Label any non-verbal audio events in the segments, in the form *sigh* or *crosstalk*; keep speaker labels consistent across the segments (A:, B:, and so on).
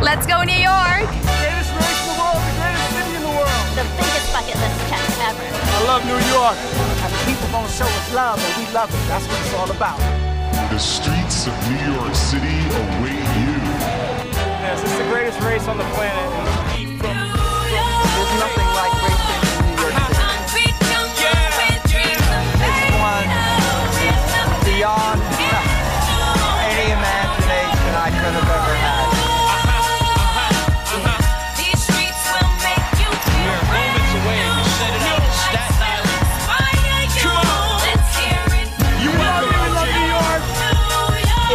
A: Let's go New York!
B: Greatest race in the world, the greatest city in the world.
C: The biggest bucket list check ever.
B: I love New York. And the people gonna show us love, and we love it. That's what it's all about.
D: The streets of New York City await you.
E: Yes, it's the greatest race on the planet.
B: There's nothing like racing in New York City. It's one beyond any imagination I could have ever had.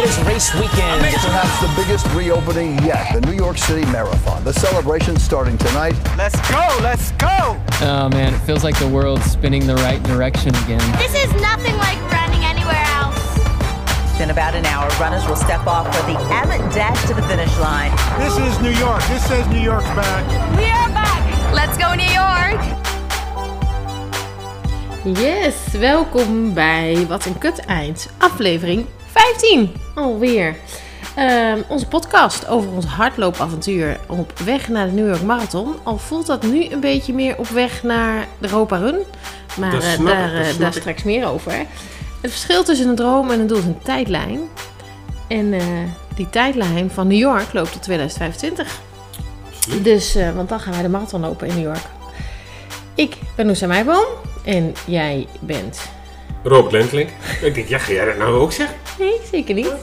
F: Perhaps the biggest reopening yet, the New York City Marathon. The celebration starting tonight.
B: Let's go, let's go.
G: Oh man, it feels like the world's spinning the right direction again.
C: This is nothing like running anywhere else.
H: In about an hour, runners will step off for the Abbott Dash to the finish line.
I: This is New York. This says New York's back.
A: We are back! Let's go New York!
J: Yes, welkom bij Wat een Kut Eind, aflevering 15 alweer. Ehm, onze podcast over ons hardloopavontuur op weg naar de New York Marathon. Al voelt dat nu een beetje meer op weg naar de Europa Run. Maar
I: Dat
J: eh,
I: snap ik,
J: daar, eh,
I: dat snap
J: daar
I: ik.
J: straks meer over. Het verschil tussen een droom en een doel is een tijdlijn. En eh, die tijdlijn van New York loopt tot 2025. Dus, eh, want dan gaan wij de marathon lopen in New York. Ik ben Noosa Meiboom en jij bent...
I: Robert Lentlink. Ik denk, ja, ga jij dat nou ook zeggen?
J: Nee, zeker niet.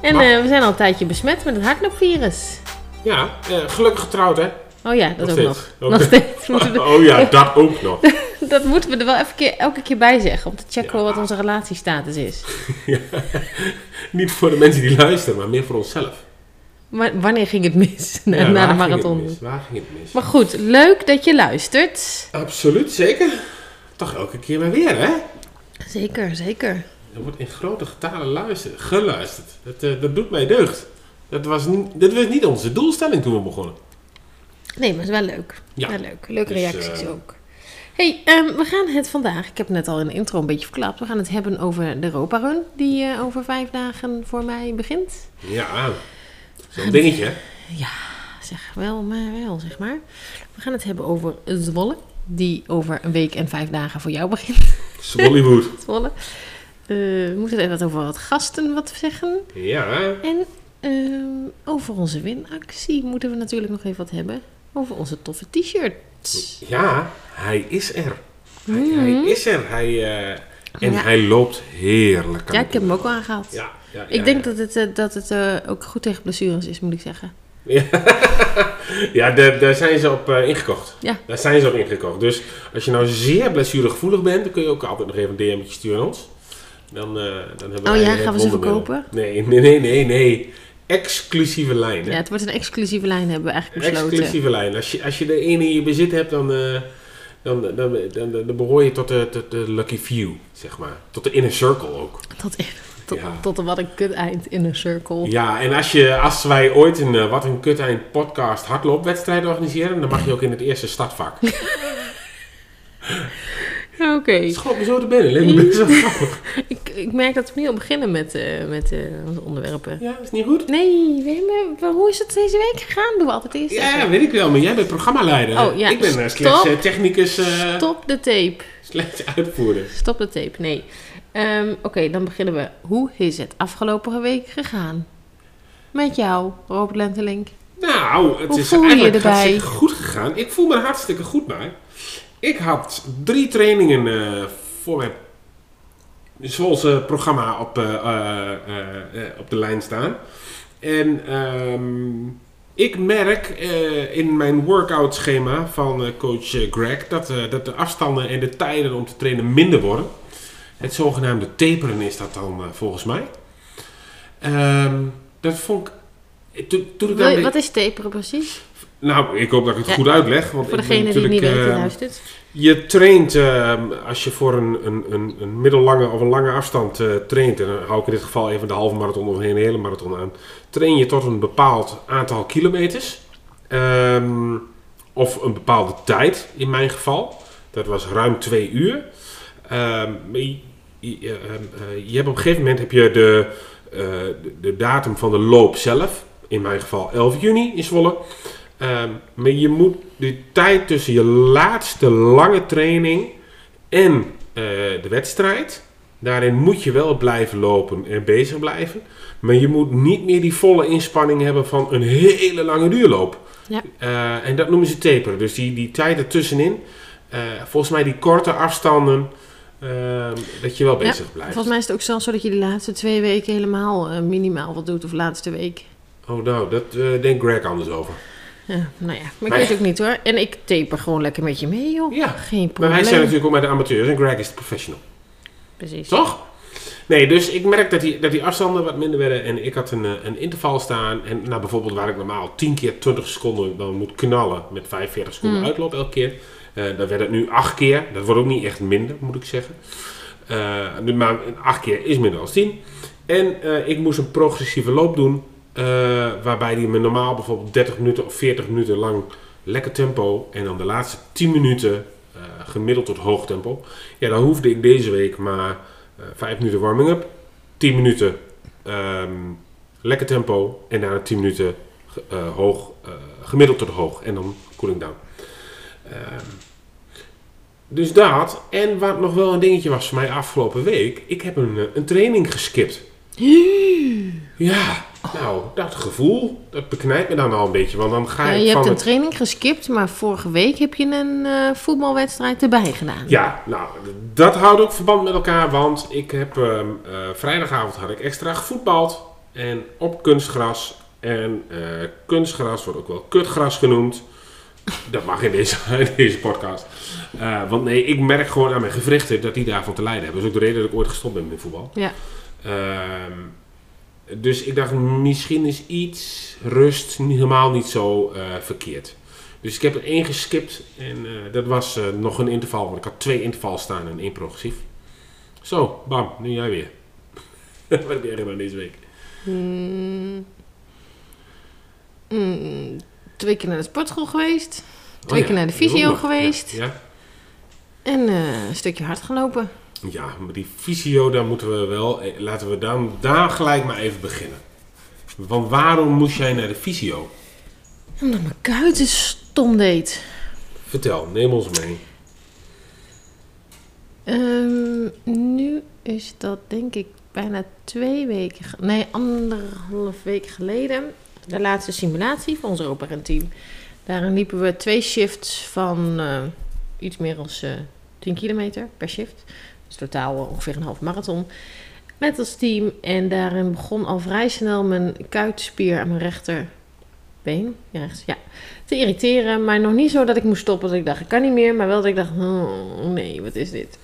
J: En
I: Maar-
J: eh, we zijn al een tijdje besmet met het hardloopvirus.
I: Ja, eh, gelukkig getrouwd, hè?
J: Oh ja, dat ook
I: steeds.
J: nog.
I: Oké.
J: Nog steeds. Moeten we,
I: *laughs* Oh ja, dat ook nog.
J: *laughs* dat moeten we er wel even keer, elke keer bij zeggen. Om te checken wat onze relatiestatus is.
I: Ja. Niet voor de mensen die luisteren, maar meer voor onszelf.
J: Maar wanneer ging het mis? *laughs* Na,
I: Ja,
J: na
I: waar
J: de
I: ging het
J: marathon.
I: mis? Waar ging het mis?
J: Maar goed, leuk dat je luistert.
I: Absoluut, zeker. Toch elke keer maar weer, hè?
J: Zeker, zeker.
I: Er wordt in grote getalen luisteren, geluisterd. Dat, eh, dat doet mij deugd. Dat was, niet, dat was niet onze doelstelling toen we begonnen.
J: Nee, maar het is wel leuk.
I: Ja.
J: Wel leuk. Leuke
I: Dus,
J: reacties
I: eh,
J: ook. hey, ehm, we gaan het vandaag, ik heb net al in de intro een beetje verklapt, we gaan het hebben over de Europa Run, die eh, over vijf dagen voor mij begint.
I: Ja, zo'n dingetje. hè?
J: Zeg wel, maar wel, zeg maar. We gaan het hebben over Zwolle, die over een week en vijf dagen voor jou begint.
I: Swollywood.
J: *laughs* Zwolle. Eh, we moeten het even wat over wat gasten wat zeggen.
I: Ja,
J: En ehm, over onze winactie moeten we natuurlijk nog even wat hebben. Over onze toffe t-shirts. Mhm.
I: ja, hij is er. Hij, hij is er. Hij, eh, en
J: Ja.
I: hij loopt heerlijk.
J: Ja, ik heb hem ook al aangehaald.
I: Ja, ja, ja,
J: Ik denk
I: ja.
J: dat het, eh, dat het eh, ook goed tegen blessures is, moet ik zeggen.
I: Ja, daar, daar zijn ze op eh, ingekocht.
J: Ja.
I: Daar zijn ze op ingekocht. Dus als je nou zeer blessuregevoelig bent, dan kun je ook altijd nog even een DM'tje sturen aan ons. Dan, eh, dan hebben
J: Oh
I: wij
J: ja,
I: het
J: gaan we ze
I: wondermiddel.
J: verkopen?
I: Nee, nee, nee, nee, nee. Exclusieve lijn.
J: Ja,
I: hè.
J: het wordt een exclusieve lijn, hebben we eigenlijk besloten.
I: Exclusieve lijn. Als je, als je de ene in je bezit hebt, dan, eh, dan, dan, dan, dan, dan behoor je tot de, tot de lucky few, zeg maar. Tot de inner circle ook.
J: Tot, tot,
I: Ja.
J: tot een wat een kut eind in een cirkel.
I: Ja, en als, je, als wij ooit een eh, Wat een Kut Eind podcast hardloopwedstrijd organiseren, dan mag je ook in het eerste
J: *laughs*
I: startvak. Het
J: Oké.
I: schoot me zo te binnen. Lijkt me best
J: *laughs*
I: wel grappig.
J: Ik, ik merk dat we nu al beginnen met, eh, met eh, onze onderwerpen.
I: Ja, is niet goed?
J: Nee, weet je, maar hoe is het deze week gegaan? Doen we altijd eerst
I: Ja,
J: even.
I: ja, weet ik wel, maar jij bent programmaleider.
J: Oh, ja,
I: Ik ben eh,
J: stop.
I: slechts eh, technicus, eh,
J: Stop de tape.
I: *laughs* slechts uitvoerder.
J: Stop de tape, nee. Ehm, Oké, dan beginnen we. Hoe is het afgelopen week gegaan? Met jou, Robert Lentelink.
I: Nou, het
J: Hoe
I: is
J: voel je je
I: eigenlijk
J: erbij?
I: hartstikke goed gegaan. Ik voel me er hartstikke goed bij. Ik had drie trainingen eh, voor mijn Zwolse programma op, eh, eh, eh, eh, op de lijn staan. En ehm, ik merk eh, in mijn workout schema van eh, coach eh, Greg dat, eh, dat de afstanden en de tijden om te trainen minder worden. Het zogenaamde taperen is dat dan eh, volgens mij. Ehm, dat vond ik. Toen, toen ik
J: Wil je-
I: daarmee-
J: Wat is taperen precies?
I: nou, ik hoop dat ik het
J: Ja,
I: goed uitleg. Want
J: Voor
I: ik ben
J: degene die het niet
I: natuurlijk,
J: weet, die
I: eh,
J: luistert.
I: Je traint, ehm, als je voor een, een, een, een middellange of een lange afstand eh, traint, en dan hou ik in dit geval even de halve marathon of een hele marathon aan, train je tot een bepaald aantal kilometers. Ehm, of een bepaalde tijd in mijn geval. Dat was ruim twee uur. Ehm, maar je, je- ehm, eh, je hebt op een gegeven moment heb je de, eh, de, de datum van de loop zelf. in mijn geval 11 juni in Zwolle. Ehm, maar je moet de tijd tussen je laatste lange training en eh, de wedstrijd, daarin moet je wel blijven lopen en bezig blijven. Maar je moet niet meer die volle inspanning hebben van een hele lange duurloop.
J: Ja.
I: Eh, en dat noemen ze taperen. Dus die, die tijd ertussenin, eh, volgens mij die korte afstanden, ehm, dat je wel bezig blijft.
J: Volgens mij is het ook zelfs zo dat je de laatste twee weken helemaal eh, minimaal wat doet. Of laatste week.
I: Oh nou, dat eh, denkt Greg anders over.
J: Ja, nou ja, maar ik
I: Maar-
J: weet ook niet hoor. En ik taper gewoon lekker met je mee, joh.
I: Ja,
J: Geen
I: Maar
J: probleem.
I: wij zijn natuurlijk ook maar de amateurs en Greg is de professional.
J: Precies.
I: Toch? Nee, dus ik merk dat die, dat die afstanden wat minder werden. En ik had een, eh, een interval staan. En nou, bijvoorbeeld waar ik normaal 10 keer 20 seconden dan moet knallen. Met 45 seconden uitloop elke keer. Eh, dan werd het nu 8 keer. Dat wordt ook niet echt minder, moet ik zeggen. Eh, nu- maar 8 keer is minder dan 10. En eh, ik moest een progressieve loop doen. eh, waarbij die me normaal bijvoorbeeld 30 minuten of 40 minuten lang lekker tempo. En dan de laatste 10 minuten eh, gemiddeld tot hoog tempo. Ja, dan hoefde ik deze week maar eh 5 minuten warming-up. 10 minuten ehm, lekker tempo. En daarna 10 minuten ge- eh, hoog, eh, gemiddeld tot hoog. En dan cooling down. Ehm, dus dat. En wat nog wel een dingetje was voor mij afgelopen week. Ik heb een, eh, een training geskipt. Ja, nou, dat gevoel, dat beknijpt me dan al een beetje. Want dan ga
J: Ja,
I: ik
J: je
I: van
J: hebt een
I: het-
J: training geskipt, maar vorige week heb je een eh, voetbalwedstrijd erbij gedaan.
I: Ja, nou, dat houdt ook verband met elkaar. Want ik heb ehm, eh, vrijdagavond had ik extra gevoetbald. En op kunstgras. En eh, kunstgras wordt ook wel kutgras genoemd. Dat mag in deze, *laughs* in deze podcast. Eh, want nee, ik merk gewoon aan mijn gewrichten dat die daarvan te lijden hebben. Dat is ook de reden dat ik ooit gestopt ben met voetbal.
J: Ja.
I: Ehm, dus ik dacht, misschien is iets rust niet- helemaal niet zo eh, verkeerd. Dus ik heb er één geskipt en eh, dat was eh, nog een interval, want ik had twee intervals staan en één progressief. Zo, bam, nu jij weer. *laughs* Wat heb jij gedaan deze week?
J: Hmm. Mm, twee keer naar de sportschool geweest. Twee
I: Oh ja,
J: keer naar de
I: dat is ook
J: visio
I: nog. Ja,
J: geweest.
I: Ja,
J: En eh, een stukje hard gelopen.
I: ja. maar die visio, daar moeten we wel, eh, laten we daar, daar gelijk maar even beginnen. Want waarom moest jij naar de visio?
J: Omdat mijn kuit het stom deed.
I: Vertel, neem ons mee.
J: Ehm, nu is dat denk ik bijna twee weken, ge- nee anderhalf week geleden, de laatste simulatie van ons operenteam. Daarin liepen we twee shifts van eh, iets meer dan 10 kilometer per shift. Dus totaal eh, ongeveer een half marathon. Met als team en daarin begon al vrij snel mijn kuitspier aan mijn rechterbeen, ja, rechts, ja, te irriteren. Maar nog niet zo dat ik moest stoppen, dat ik dacht ik kan niet meer. Maar wel dat ik dacht, oh, nee, wat is dit?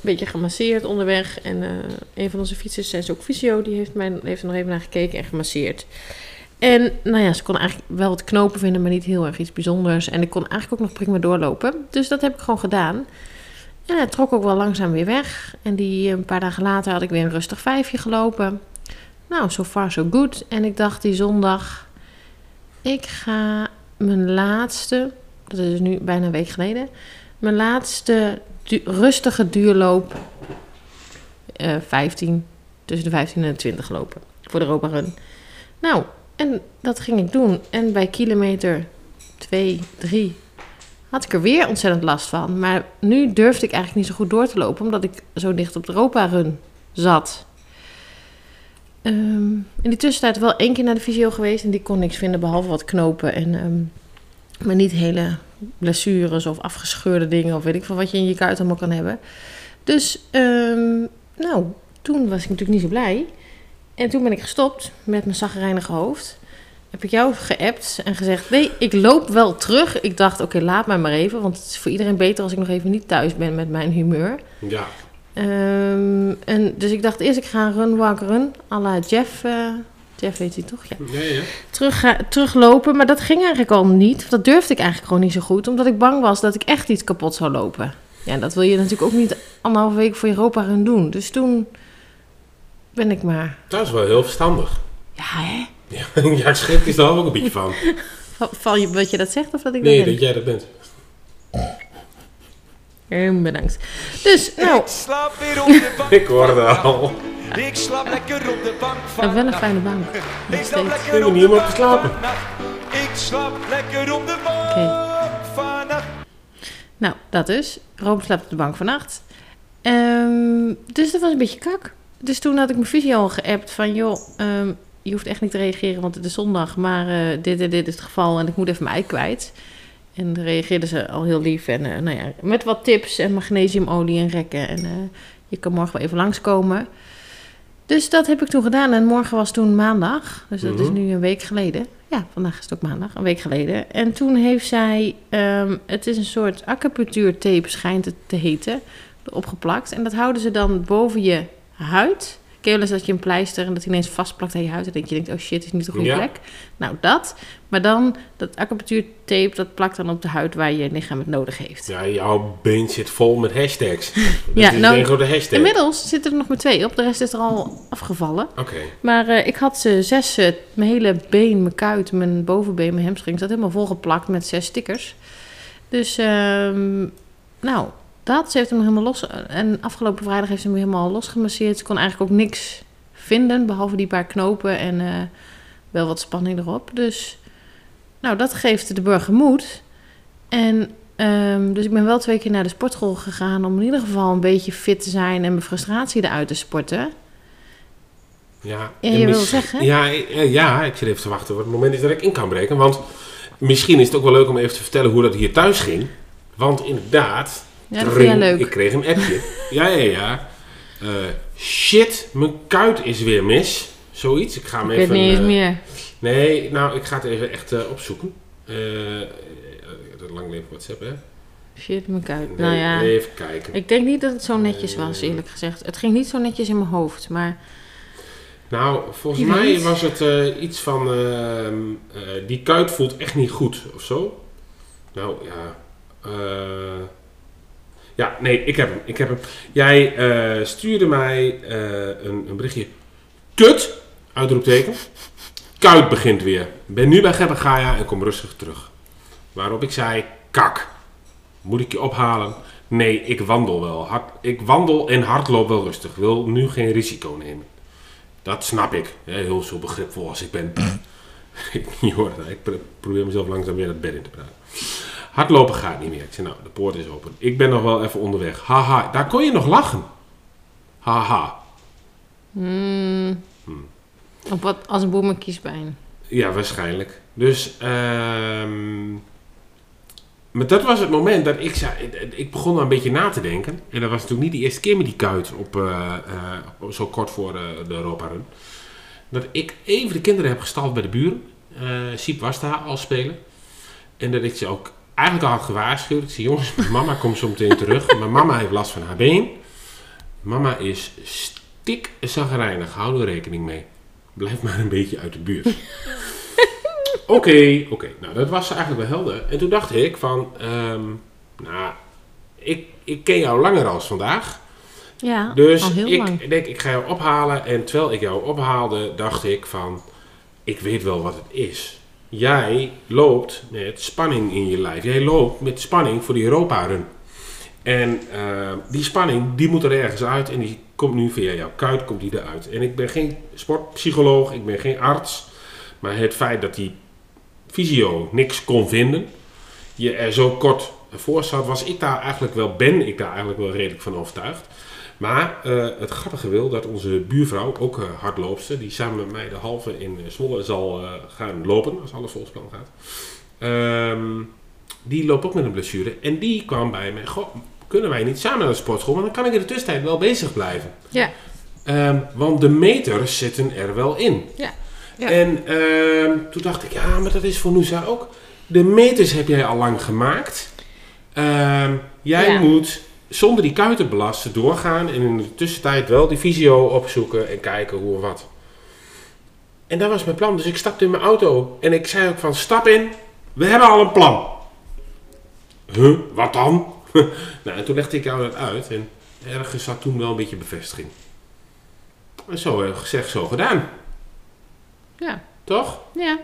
J: beetje gemasseerd onderweg. En eh, een van onze fietsers, zij is ook fysio, die heeft, mij, heeft er nog even naar gekeken en gemasseerd. En nou ja, ze kon eigenlijk wel wat knopen vinden, maar niet heel erg iets bijzonders. En ik kon eigenlijk ook nog prima doorlopen. Dus dat heb ik gewoon gedaan. En het trok ook wel langzaam weer weg. En die eh, een paar dagen later had ik weer een rustig vijfje gelopen. Nou, so far so good. En ik dacht die zondag, ik ga mijn laatste, dat is nu bijna een week geleden, mijn laatste du- rustige duurloop. eh 15, tussen de 15 en de 20 lopen. Voor de Europa Run. Nou, en dat ging ik doen. En bij kilometer 2, 3 had ik er weer ontzettend last van. Maar nu durfde ik eigenlijk niet zo goed door te lopen. Omdat ik zo dicht op de Europa Run zat. Ehm, in de tussentijd wel één keer naar de fysio geweest. En die kon niks vinden behalve wat knopen. En, ehm, maar niet hele blessures of afgescheurde dingen of weet ik veel wat je in je kuit allemaal kan hebben. Dus ehm, nou, toen was ik natuurlijk niet zo blij. En toen ben ik gestopt met mijn zagrijnige hoofd. Heb ik jou geappt en gezegd: Nee, ik loop wel terug. Ik dacht: Oké, laat mij maar even. Want het is voor iedereen beter als ik nog even niet thuis ben met mijn humeur.
I: Ja,
J: Ehm, en dus ik dacht eerst: Ik ga een run, walk, run. à la Jeff. eh, Jeff heet hij toch? Ja
I: ja, ja.
J: terug, eh, teruglopen. Maar dat ging eigenlijk al niet. Dat durfde ik eigenlijk gewoon niet zo goed. Omdat ik bang was dat ik echt iets kapot zou lopen. Ja, en dat wil je natuurlijk ook niet anderhalf week voor Europa gaan doen. Dus toen ben ik maar...
I: Dat is wel heel verstandig.
J: Ja, hè?
I: Ja, *laughs* ja ik schrik is daar ook een beetje van.
J: Va- Val je wat je dat zegt of dat ik
I: Nee,
J: dat
I: dat
J: ben?
I: jij dat bent.
J: Ehm, bedankt. nou, Dus, nou,
I: *laughs*
E: Slap weer op de bank.
I: Ik hoor het al.
K: Ik slaap lekker op de bank
J: En
K: van
J: wel een fijne bank. Nog
K: Ik slaap
J: steeds.
K: lekker
I: Ik ben
K: op
I: hier
K: de
I: om op
K: bank
I: te slapen.
K: vannacht. Ik slaap lekker op de
J: Oké.
K: bank vannacht.
J: Nou, dat dus. Rome slaapt op de bank vannacht. Ehm, dus dat was een beetje kak. Dus toen had ik mijn visio al geappt van... joh, ehm, je hoeft echt niet te reageren, want het is zondag. Maar eh, dit en dit is het geval en ik moet even mijn ei kwijt. En dan reageerden ze al heel lief. En eh, nou ja, met wat tips en magnesiumolie en rekken. En eh, je kan morgen wel even langskomen. Dus dat heb ik toen gedaan. En morgen was toen maandag. Dus dat is
I: Mhm.
J: nu een week geleden. Ja, vandaag is het ook maandag. Een week geleden. En toen heeft zij... ehm, het is een soort acupunctuurtape schijnt het te heten. Opgeplakt. En dat houden ze dan boven je huid. Ken je wel eens dat je een pleister en dat hij ineens vastplakt aan je huid. En dat je denkt, oh shit, dit is niet de goede
I: Ja.
J: plek. Nou, dat. Maar dan, dat acupunctuurtape, dat plakt dan op de huid waar je lichaam het nodig heeft.
I: Ja, jouw been zit vol met
J: *laughs*
I: hashtags. Dit
J: Ja,
I: is
J: nou,
I: één grote hashtag.
J: Inmiddels zitten er nog maar twee op. De rest is er al afgevallen.
I: Oké.
J: Maar eh, ik had ze zes, eh, mijn hele been, mijn kuit, mijn bovenbeen, mijn hamstring zat helemaal volgeplakt met zes stickers. Dus, ehm, nou, dat. Ze heeft hem helemaal los. eh, En afgelopen vrijdag heeft ze hem helemaal losgemasseerd. Ze kon eigenlijk ook niks vinden, behalve die paar knopen en eh, wel wat spanning erop. Dus, nou, dat geeft de burger moed. En, ehm, dus ik ben wel twee keer naar de sportschool gegaan om in ieder geval een beetje fit te zijn en mijn frustratie eruit te sporten.
I: Ja,
J: Ja, je wil
I: mis-
J: zeggen?
I: Ja, eh, ja, ik zit even te wachten wat het moment is dat ik in kan breken. Want misschien is het ook wel leuk om even te vertellen hoe dat hier thuis ging. Want inderdaad,
J: Ja, dat vind jij
I: tring,
J: leuk.
I: ik kreeg een appje. ja, ja, ja. Eh, shit, mijn kuit is weer mis. Zoiets. Ik ga hem
J: Ik weet
I: even.
J: niet eens
I: eh,
J: meer.
I: Nee, nou, ik ga het even echt eh, opzoeken. Eh, eh, dat lang leven WhatsApp, hè?
J: Shit, mijn kuit.
I: Nee,
J: nou ja,
I: Even kijken. Eh.
J: ik denk niet dat het zo netjes was, eerlijk gezegd. Het ging niet zo netjes in mijn hoofd, maar
I: Nou, volgens
J: Je
I: mij
J: weet.
I: was het eh, iets van. ehm, eh, die kuit voelt echt niet goed of zo. Nou ja. eh, ja, nee, ik heb hem. Ik heb hem. Jij eh, stuurde mij eh, een, een berichtje. Kut! Uitroepteken. Kuit begint weer. Ben nu bij Gebbegaya en kom rustig terug. Waarop ik zei: Kak, moet ik je ophalen? Nee, ik wandel wel. Hard, ik wandel en hardloop wel rustig. Wil nu geen risico nemen. Dat snap ik. Hè, Heel zo begripvol als ik ben. *laughs* ik niet hoor, ik pro- probeer mezelf langzaam weer het bed in te praten. Hardlopen gaat niet meer. Ik zei, nou, de poort is open. Ik ben nog wel even onderweg. Haha, daar kon je nog lachen. Haha.
J: op wat, als een boer met kiespijn.
I: Ja, waarschijnlijk. Dus, ehm, maar dat was het moment dat ik zei, eh, ik begon daar een beetje na te denken. En dat was natuurlijk niet de eerste keer met die kuit op, eh, eh, op- zo kort voor eh, de Europa Run. Dat ik even de kinderen heb gestald bij de buren. eh Siep was daar al spelen. En dat ik ze ook eigenlijk al had gewaarschuwd. Ik zei, jongens, *laughs* mijn mama komt zo meteen terug. Mijn mama heeft last van haar been. Mama is stik zagrijnig. Hou er rekening mee. Blijf maar een beetje uit de buurt. Oké, oké. Nou, dat was eigenlijk wel helder. En toen dacht ik van, ehm, nou, ik, ik ken jou langer als vandaag.
J: Ja, al
I: Dus
J: heel
I: ik
J: lang.
I: denk, ik ga jou ophalen. En terwijl ik jou ophaalde, dacht ik van, ik weet wel wat het is. Jij loopt met spanning in je lijf. Jij loopt met spanning voor die Europa-run. En eh, die spanning, die moet er ergens uit. En die komt nu via jouw kuit, komt die eruit. En ik ben geen sportpsycholoog, ik ben geen arts. Maar het feit dat die fysio niks kon vinden, je er zo kort voor zat, was ik daar eigenlijk wel, ben ik daar eigenlijk wel redelijk van overtuigd. Maar eh, het grappige wil dat onze buurvrouw, ook eh hardloopster, die samen met mij de halve in Zwolle zal eh, gaan lopen, als alles volgens plan gaat. Ehm, die loopt ook met een blessure. En die kwam bij mij. Goh, kunnen wij niet samen naar de sportschool? Want dan kan ik in de tussentijd wel bezig blijven.
J: Ja,
I: Ehm, want de meters zitten er wel in.
J: ja. Ja.
I: En ehm, toen dacht ik, ja, maar dat is voor Noosa ook. De meters heb jij al lang gemaakt. Ehm, jij
J: Ja.
I: moet zonder die kuiten te belasten doorgaan en in de tussentijd wel die visio opzoeken en kijken hoe of wat. En dat was mijn plan. Dus ik stapte in mijn auto en ik zei ook van stap in, we hebben al een plan. Huh, wat dan? *laughs* nou, en toen legde ik jou dat uit en ergens zat toen wel een beetje bevestiging. En zo eh, gezegd, zo gedaan.
J: ja.
I: Toch?
J: ja.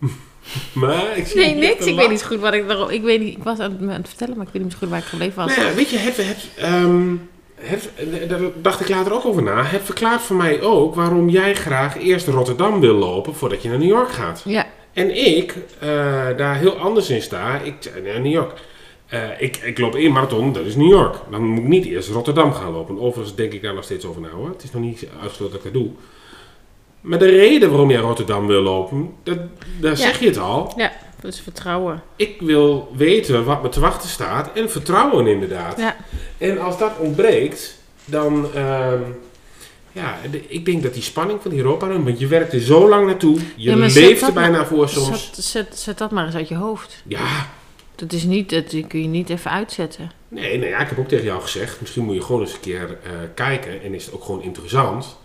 I: *laughs* Maar ik zie
J: Nee,
I: niet echt
J: niks.
I: een
J: Ik weet
I: lach.
J: niet zo goed wat ik daarop... Ik, weet niet, ik was aan het, me aan het vertellen, maar ik weet niet zo goed waar ik gebleven was.
I: Nou ja, weet je, het, het, ehm, eh, het, daar dacht ik later ook over na. Het verklaart voor mij ook waarom jij graag eerst Rotterdam wil lopen voordat je naar New York gaat.
J: Ja.
I: En ik eh, daar heel anders in sta. Ik zei, nee, New York. Eh, ik, ik loop één marathon, dat is New York. Dan moet ik niet eerst Rotterdam gaan lopen. Overigens denk ik daar nog steeds over na hoor. Het is nog niet uitgesloten dat ik dat doe. Maar de reden waarom jij Rotterdam wil lopen, dat, daar
J: Ja.
I: zeg je het al.
J: Ja, dus vertrouwen.
I: Ik wil weten wat me te wachten staat en vertrouwen inderdaad.
J: Ja.
I: En als dat ontbreekt, dan. ehm, ja, de- ik denk dat die spanning van die Europa Run, want je werkt er zo lang naartoe, je
J: Ja, maar zet
I: leeft
J: dat
I: er bijna
J: maar-
I: voor soms.
J: Zet, zet, zet dat maar eens uit je hoofd.
I: Ja,
J: Dat, is niet, dat kun je niet even uitzetten.
I: nee, nou ja, ik heb ook tegen jou gezegd, misschien moet je gewoon eens een keer eh, kijken en is het ook gewoon interessant,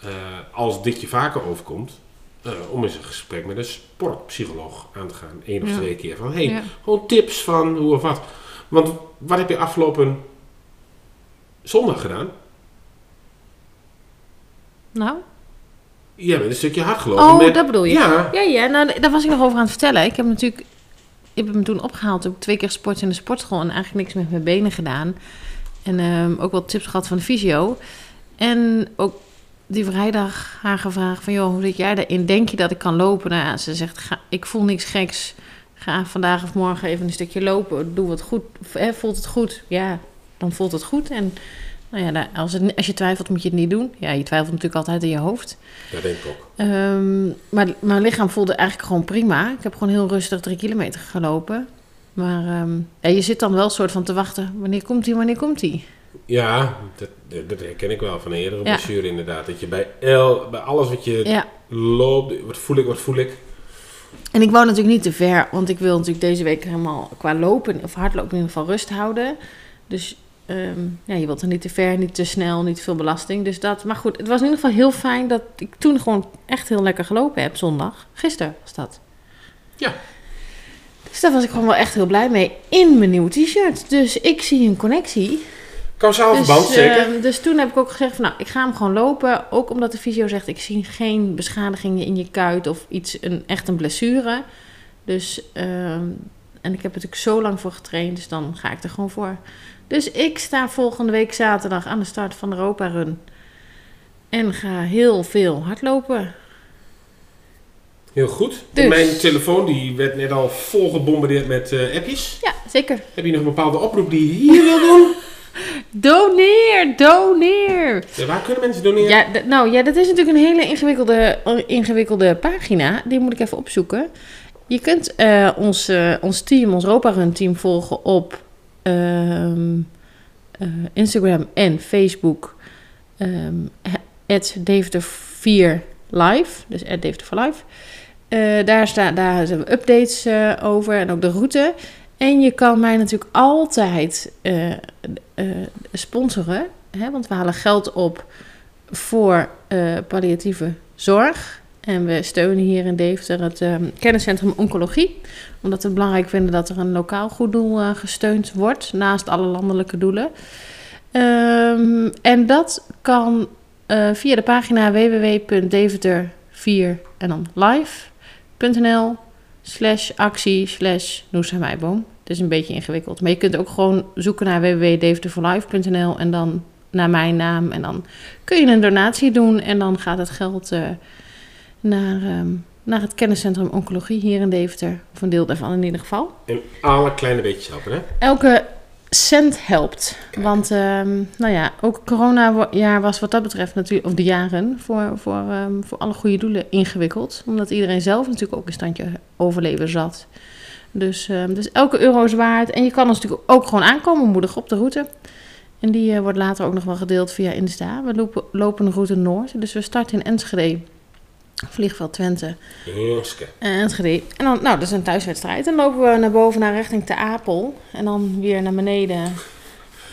I: eh, als dit je vaker overkomt, eh, om eens een gesprek met een sportpsycholoog aan te gaan, één of
J: Ja.
I: twee keer. Van hey,
J: Ja.
I: gewoon tips van hoe of wat. Want wat heb je afgelopen zondag gedaan?
J: Nou?
I: Jij bent een stukje hard gelopen.
J: Oh,
I: met-
J: dat bedoel je.
I: Ja,
J: Ja, ja, nou, daar was ik nog over aan het vertellen. Ik heb natuurlijk... Ik heb hem toen opgehaald. Heb ik twee keer gesport in de sportschool en eigenlijk niks met mijn benen gedaan. En ehm, ook wat tips gehad van de fysio. En ook die vrijdag haar gevraagd van... joh, hoe zit jij daarin? Denk je dat ik kan lopen? Nou, ja, ze zegt, ga, ik voel niks geks. Ga vandaag of morgen even een stukje lopen. Doe wat goed. V- hè, voelt het goed? Ja, dan voelt het goed. En nou ja, daar- als, het, als je twijfelt moet je het niet doen. Ja, je twijfelt natuurlijk altijd in je hoofd.
I: dat denk ik ook.
J: Ehm, maar mijn lichaam voelde eigenlijk gewoon prima. Ik heb gewoon heel rustig drie kilometer gelopen. Maar ehm, ja, je zit dan wel soort van te wachten. Wanneer komt hij? Wanneer komt hij?
I: Ja, dat, dat, dat herken ik wel van een eerdere
J: Ja.
I: blessure inderdaad. Dat je bij, el, bij alles wat je
J: Ja.
I: loopt, wat voel ik, wat voel ik.
J: En ik wou natuurlijk niet te ver. Want ik wil natuurlijk deze week helemaal qua lopen of hardlopen in ieder geval rust houden. Dus ehm, ja, je wilt er niet te ver, niet te snel, niet te veel belasting. Dus dat. Maar goed, het was in ieder geval heel fijn dat ik toen gewoon echt heel lekker gelopen heb zondag. Gisteren was dat.
I: Ja.
J: Dus daar was ik gewoon wel echt heel blij mee in mijn nieuwe t-shirt. Dus ik zie een connectie.
I: Kausaal verband, zeker.
J: ehm, dus toen heb ik ook gezegd van, nou, ik ga hem gewoon lopen. Ook omdat de fysio zegt, ik zie geen beschadigingen in je kuit of iets, een, echt een blessure. Dus, ehm, en ik heb er natuurlijk zo lang voor getraind, dus dan ga ik er gewoon voor. Dus ik sta volgende week zaterdag aan de start van de Europa Run. En ga heel veel hardlopen.
I: Heel goed.
J: Dus.
I: Mijn telefoon die werd net al volgebombardeerd met eh, appjes.
J: Ja, zeker.
I: Heb je nog een bepaalde oproep die je hier wil doen?
J: Doneer, doneer.
I: Ja, waar kunnen mensen doneren?
J: Ja, d- nou ja, dat is natuurlijk een hele ingewikkelde, ingewikkelde pagina. Die moet ik even opzoeken. Je kunt eh, ons, eh, ons team, ons Europa Run team volgen op ehm, eh, Instagram en Facebook. ehm, Het Deventer 4 Live. Dus at Deventer 4 Live. Eh, daar, sta, daar zijn we updates eh, over en ook de route. En je kan mij natuurlijk altijd eh, eh, sponsoren. Hè, want we halen geld op voor eh, palliatieve zorg. En we steunen hier in Deventer het eh, kenniscentrum Oncologie. Omdat we het belangrijk vinden dat er een lokaal goed doel eh, gesteund wordt. Naast alle landelijke doelen. Ehm, en dat kan eh, via de pagina www.deventer4 en dan live.nl slash actie slash Noes en Meiboom. Het is een beetje ingewikkeld. Maar je kunt ook gewoon zoeken naar www.deventer4live.nl en dan naar mijn naam. En dan kun je een donatie doen en dan gaat het geld eh, naar, ehm, naar het kenniscentrum Oncologie hier in Deventer. Of een deel daarvan in ieder geval.
I: En alle kleine beetjes helpen, hè?
J: Elke cent helpt. Want ehm, nou ja, ook corona-jaar was wat dat betreft natuurlijk, of de jaren, voor, voor, ehm, voor alle goede doelen ingewikkeld. Omdat iedereen zelf natuurlijk ook een standje overleven zat. Dus, ehm, dus elke euro is waard. En je kan ons natuurlijk ook gewoon aankomen moedigen op de route. En die eh, wordt later ook nog wel gedeeld via Insta. We lopen, lopen de route Noord. Dus we starten in Enschede, vliegveld Twente.
I: Heerske.
J: eh, En Enschede. En dan, nou, dat is een thuiswedstrijd. Dan lopen we naar boven naar richting Te Apel. En dan weer naar beneden.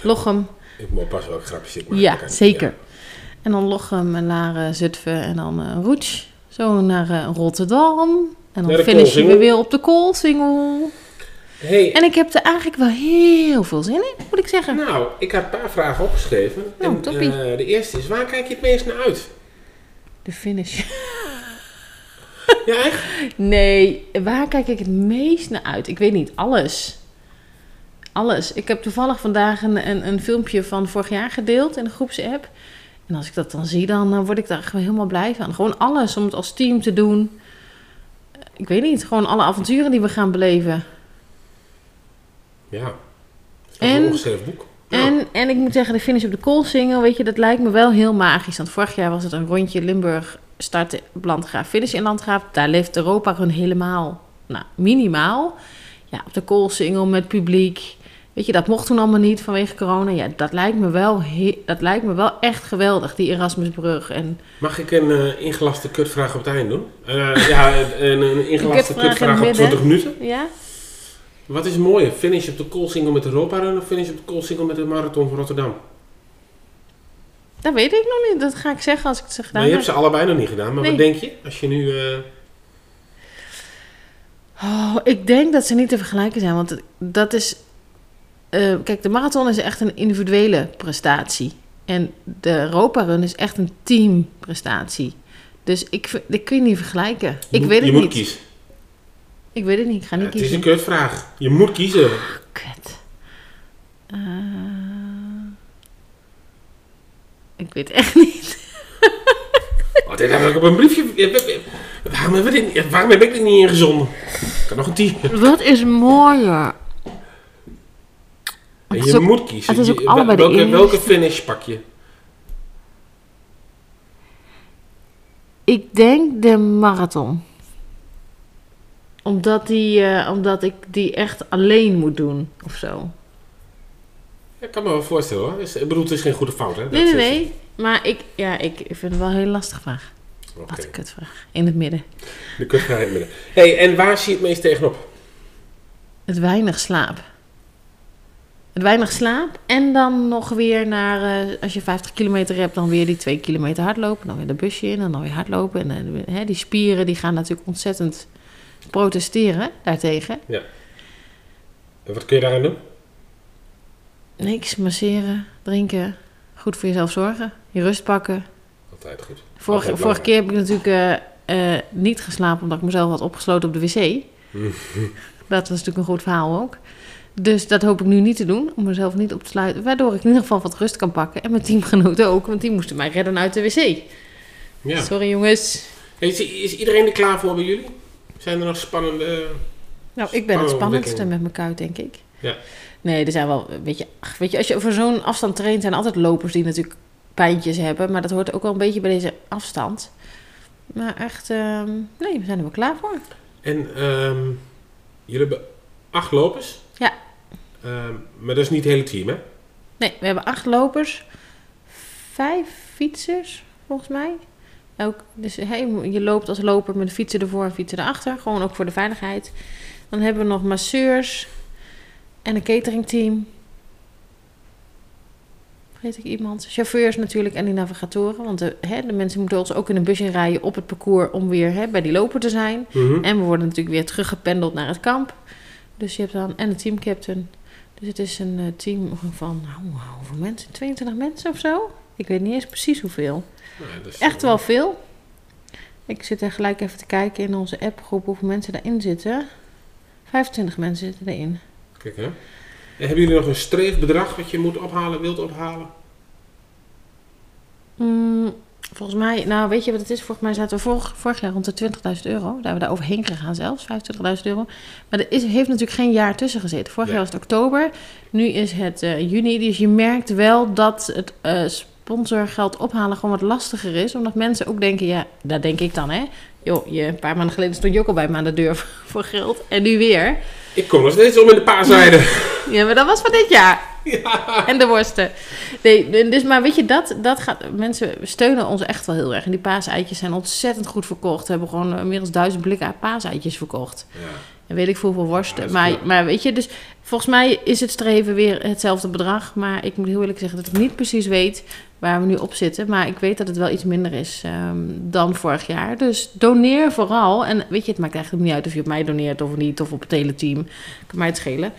J: Lochem.
I: Ik moet pas wel grapjes ik maak.
J: Ja,
I: Dat kan-
J: zeker. En dan Lochem en Laren, Zutphen en dan eh Roets. Zo naar eh, Rotterdam. En
I: Naar
J: dan
I: de
J: finishen we
I: Koolsingel.
J: weer op de Koolsingel.
I: Hey,
J: En ik heb er eigenlijk wel heel veel zin in, moet ik zeggen.
I: nou, ik had een paar vragen opgeschreven.
J: Nou,
I: en,
J: toppie.
I: eh, de eerste is, waar kijk je het meest naar uit?
J: De finish.
I: Ja, echt?
J: Nee, waar kijk ik het meest naar uit? Ik weet niet, alles. Alles. Ik heb toevallig vandaag een, een, een filmpje van vorig jaar gedeeld in de groepsapp. En als ik dat dan zie, dan eh, word ik daar gewoon helemaal blij van. Gewoon alles om het als team te doen. Ik weet niet, gewoon alle avonturen die we gaan beleven.
I: Ja.
J: En-
I: Een ongeschreven boek.
J: En, en ik moet zeggen, de finish op de Koolsingel, weet je, dat lijkt me wel heel magisch. Want vorig jaar was het een rondje Limburg starten op Landgraaf, finish in Landgraaf. Daar leeft Europa gewoon helemaal, nou, minimaal. Ja, op de Koolsingel met publiek. Weet je, dat mocht toen allemaal niet vanwege corona. Ja, dat lijkt me wel, he- dat lijkt me wel echt geweldig, die Erasmusbrug. En
I: Mag ik een eh, ingelaste kutvraag op het eind doen? Eh, ja, een, een ingelaste
J: kutvraag in
I: kutvraag
J: het
I: op
J: midden.
I: 20 minuten.
J: ja,
I: Wat is mooier, finish op de Koolsingel met de Europa Run of finish op de Koolsingel met de Marathon van Rotterdam?
J: dat weet ik nog niet. Dat ga ik zeggen als ik het zeg gedaan
I: Nou, je
J: heb.
I: hebt ze allebei nog niet gedaan, maar
J: Nee.
I: wat denk je? Als je nu... eh,
J: Oh, ik denk dat ze niet te vergelijken zijn, want het- dat is. eh, kijk, de marathon is echt een individuele prestatie. En de Europa Run is echt een teamprestatie. Dus ik, v- ik kun je niet vergelijken. Ik
I: moet-
J: weet het
I: je
J: niet.
I: moet kiezen.
J: Ik weet het niet. Ik ga niet
I: het is
J: kiezen. Oh,
I: een kutvraag. Je moet kiezen.
J: Kut. Eh, ik weet echt niet. *laughs*
I: Oh, dit heb ik op een briefje... eh, eh, eh, Waarom heb ik dit, eh, waarom heb ik dit niet ingezonden? Ik kan nog een tien.
J: Wat is mooier?
I: En
J: is
I: je
J: ook-
I: moet kiezen.
J: het is ook
I: Je-
J: allebei de
I: welke,
J: eerste.
I: welke finish pak je?
J: Ik denk de marathon. Omdat, die, eh, omdat ik die echt alleen moet doen of zo.
I: Ja, Ik kan me wel voorstellen hoor. Is- Ik bedoel, het is geen goede fout hè?
J: Nee,
I: Dat
J: nee,
I: is-
J: nee. Maar ik, ja, ik, ik vind het wel een hele lastige vraag.
I: Oké.
J: Wat een kutvraag. In het midden.
I: De kutvraag in het midden. hey, en waar zie je het meest tegenop?
J: Het weinig slaap. Het weinig slaap. En dan nog weer naar, eh, als je 50 kilometer hebt, dan weer die 2 kilometer hardlopen. Dan weer de busje in en dan weer hardlopen. En eh, hè, die spieren die gaan natuurlijk ontzettend protesteren daartegen.
I: En wat kun je daaraan doen?
J: Niks, masseren, drinken, goed voor jezelf zorgen, je rust pakken.
I: Altijd goed.
J: Vorige,
I: Altijd
J: vorige keer heb ik natuurlijk eh, eh, niet geslapen omdat ik mezelf had opgesloten op de
I: *laughs*
J: wc. dat was natuurlijk een goed verhaal ook. Dus dat hoop ik nu niet te doen, om mezelf niet op te sluiten. Waardoor ik in ieder geval wat rust kan pakken. En mijn teamgenoten ook, want die moesten mij redden uit de wc.
I: Ja.
J: Sorry jongens.
I: Is, is iedereen er klaar voor bij jullie? Zijn er nog spannende...
J: Nou, ik ben het
I: Oh,
J: spannendste
I: ontwikkeling.
J: met mijn kuit, denk ik.
I: Ja.
J: Nee, er zijn wel, weet je, ach, weet je als je voor zo'n afstand traint, zijn er altijd lopers die natuurlijk pijntjes hebben. Maar dat hoort ook wel een beetje bij deze afstand. Maar echt, ehm, nee, we zijn er wel klaar voor.
I: En ehm, jullie hebben acht lopers.
J: Ja.
I: Ehm, maar dat is niet het hele team, hè?
J: Nee, we hebben acht lopers, vijf fietsers, volgens mij. Ook, dus hey, je loopt als loper met fietsen ervoor en fietsen erachter. Gewoon ook voor de veiligheid. Dan hebben we nog masseurs en een cateringteam. Vergeet ik iemand. Chauffeurs natuurlijk en die navigatoren. Want de, hè, de mensen moeten ons ook in een busje rijden op het parcours om weer hè, bij die loper te zijn.
I: Mhm.
J: En we worden natuurlijk weer teruggependeld naar het kamp. Dus je hebt dan en een teamcaptain. Dus het is een eh, team van, nou, hoeveel mensen? 22 mensen of zo? Ik weet niet eens precies hoeveel.
I: Nou, dat is-
J: Echt wel veel. Ik zit er gelijk even te kijken in onze appgroep hoeveel mensen daarin zitten. 25 mensen zitten erin.
I: Kijk, hè? En hebben jullie nog een streefbedrag wat je moet ophalen, wilt ophalen?
J: Mm, volgens mij, nou weet je wat het is? Volgens mij zaten we vorig, vorig jaar rond de 20.000 euro. Daar hebben we daar overheen gegaan zelfs, 25.000 euro. Maar er is, heeft natuurlijk geen jaar tussen gezeten. Vorig
I: Nee.
J: jaar was het oktober, nu is het eh, juni. Dus je merkt wel dat het eh, sponsorgeld ophalen gewoon wat lastiger is. Omdat mensen ook denken, ja, dat denk ik dan hè. Joh, je, een paar maanden geleden stond je ook al bij me aan de deur *laughs* voor geld. En nu weer.
I: Ik kom nog steeds om in de paarzijde.
J: Ja, maar dat was van dit
I: *laughs*
J: jaar. En de worsten. Nee, dus, maar weet je, dat, dat gaat, mensen steunen ons echt wel heel erg. En die paaseitjes zijn ontzettend goed verkocht. We hebben gewoon eh, meer dan duizend blikken aan paaseitjes verkocht.
I: ja.
J: En weet ik veel hoeveel worsten.
I: Ja, dat is
J: maar,
I: knap.
J: maar weet je, dus volgens mij is het streven weer hetzelfde bedrag. Maar ik moet heel eerlijk zeggen dat ik niet precies weet waar we nu op zitten. Maar ik weet dat het wel iets minder is ehm, dan vorig jaar. Dus doneer vooral. En weet je, het maakt eigenlijk niet uit of je op mij doneert of niet. Of op het hele team. Kan mij het schelen.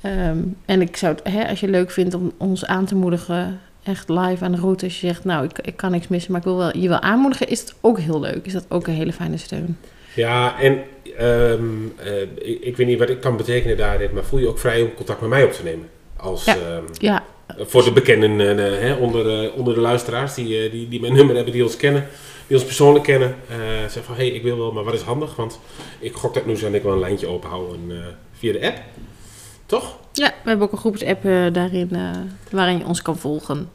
J: Ehm, en ik zou het, hè, als je het leuk vindt om ons aan te moedigen, echt live aan de route. Als je zegt, nou, ik, ik kan niks missen, maar ik wil wel je wel aanmoedigen, is dat ook heel leuk. Is dat ook een hele fijne steun. Ja, en ehm, eh, ik, ik weet niet wat ik kan betekenen daarin, maar voel je ook vrij om contact met mij op te nemen? Als,
G: Ja.
J: ehm,
G: Ja.
J: Voor de bekenden eh, eh, hè, onder, eh, onder de luisteraars die, eh, die, die mijn nummer hebben, die ons kennen, die ons persoonlijk kennen. eh zeggen van, hé, hey, ik wil wel, maar wat is handig? Want ik gok dat Noes en ik wel een lijntje openhouden eh, via de app. Toch?
G: Ja, we hebben ook een groepsapp eh, daarin eh, waarin je ons kan volgen.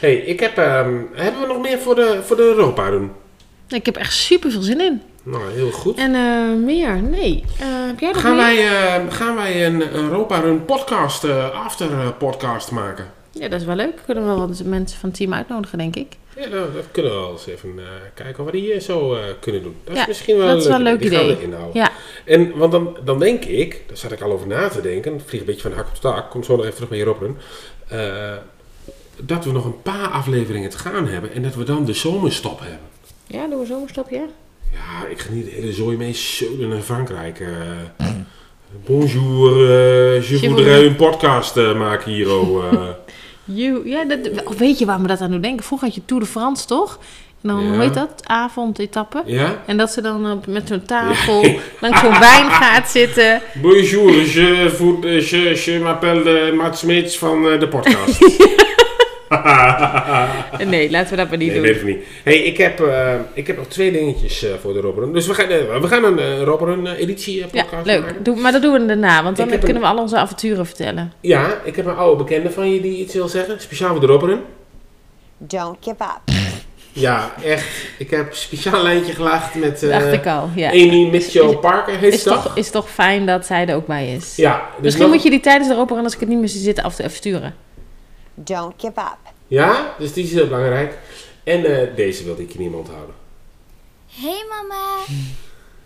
J: Hé, hey, ik heb... ehm, hebben we nog meer voor de, voor de Europa doen?
G: Ik heb echt super veel zin in.
J: Nou, heel goed.
G: En eh, meer? Nee. Eh, heb jij nog
J: Gaan
G: meer?
J: wij, eh, gaan wij een Europa Run podcast, eh, after eh, podcast maken?
G: Ja, dat is wel leuk. Kunnen we wel wat mensen van het team uitnodigen, denk ik.
J: Ja, nou, dat kunnen we wel eens even eh, kijken wat we hier zo eh, kunnen doen. Dat
G: Ja,
J: is misschien wel
G: dat is wel
J: een
G: een
J: leuk
G: leuk
J: idee. Die gaan we
G: idee.
J: erin houden.
G: Ja.
J: En want dan, dan denk ik, daar zat ik al over na te denken, ik vlieg een beetje van de hak op de tak, kom zo nog even terug bij hierop. Run, eh, dat we nog een paar afleveringen te gaan hebben en dat we dan de zomerstop hebben.
G: Ja, doen we zomerstapje.
J: Ja, ik geniet de hele zooi mee zeulen naar Frankrijk. eh. *clears throat* bonjour, eh je
G: Je
J: voudrais
G: voudrais-
J: een podcast eh, maken hier.
G: *laughs*
J: oh, eh.
G: You, ja, dat, oh, weet je waar me dat aan doet denken? Vroeger had je Tour de France, toch? En dan,
J: Ja.
G: hoe heet dat? Avondetappe.
J: Ja.
G: En dat ze dan op- met zo'n
J: *laughs*
G: tafel langs zo'n wijngaard zitten.
J: Bonjour, je, voed, eh, je, je m'appelle eh, Mats Smeets van eh, de podcast.
G: *laughs* Nee, laten we dat maar niet
J: Nee,
G: doen.
J: weet ik niet. hey, ik, heb, eh, ik heb nog twee dingetjes eh, voor de Robberun. Dus we gaan, eh, we gaan een eh Robberun eh, editie eh,
G: Ja,
J: podcast maken.
G: leuk. Doe, maar dat doen we daarna, want dan
J: Ik heb
G: kunnen
J: een-
G: we al onze avonturen vertellen.
J: Ja, ik heb een oude bekende van je die iets wil zeggen. Speciaal voor de Robberun.
C: Don't give up.
J: Ja, echt. Ik heb een speciaal lijntje gelaagd met eh
G: Dacht ik al, ja.
J: Amy Mitchell Parker. Heet
G: Is
J: ze toch?
G: toch, is toch fijn dat zij er ook bij is?
J: Ja, dus
G: Misschien
J: nog-
G: moet je die tijdens erop en als ik het niet meer zie zitten af te sturen.
C: Don't give up.
J: Ja, dus die is heel belangrijk. En eh, deze wilde ik je niet onthouden.
L: Hey mama,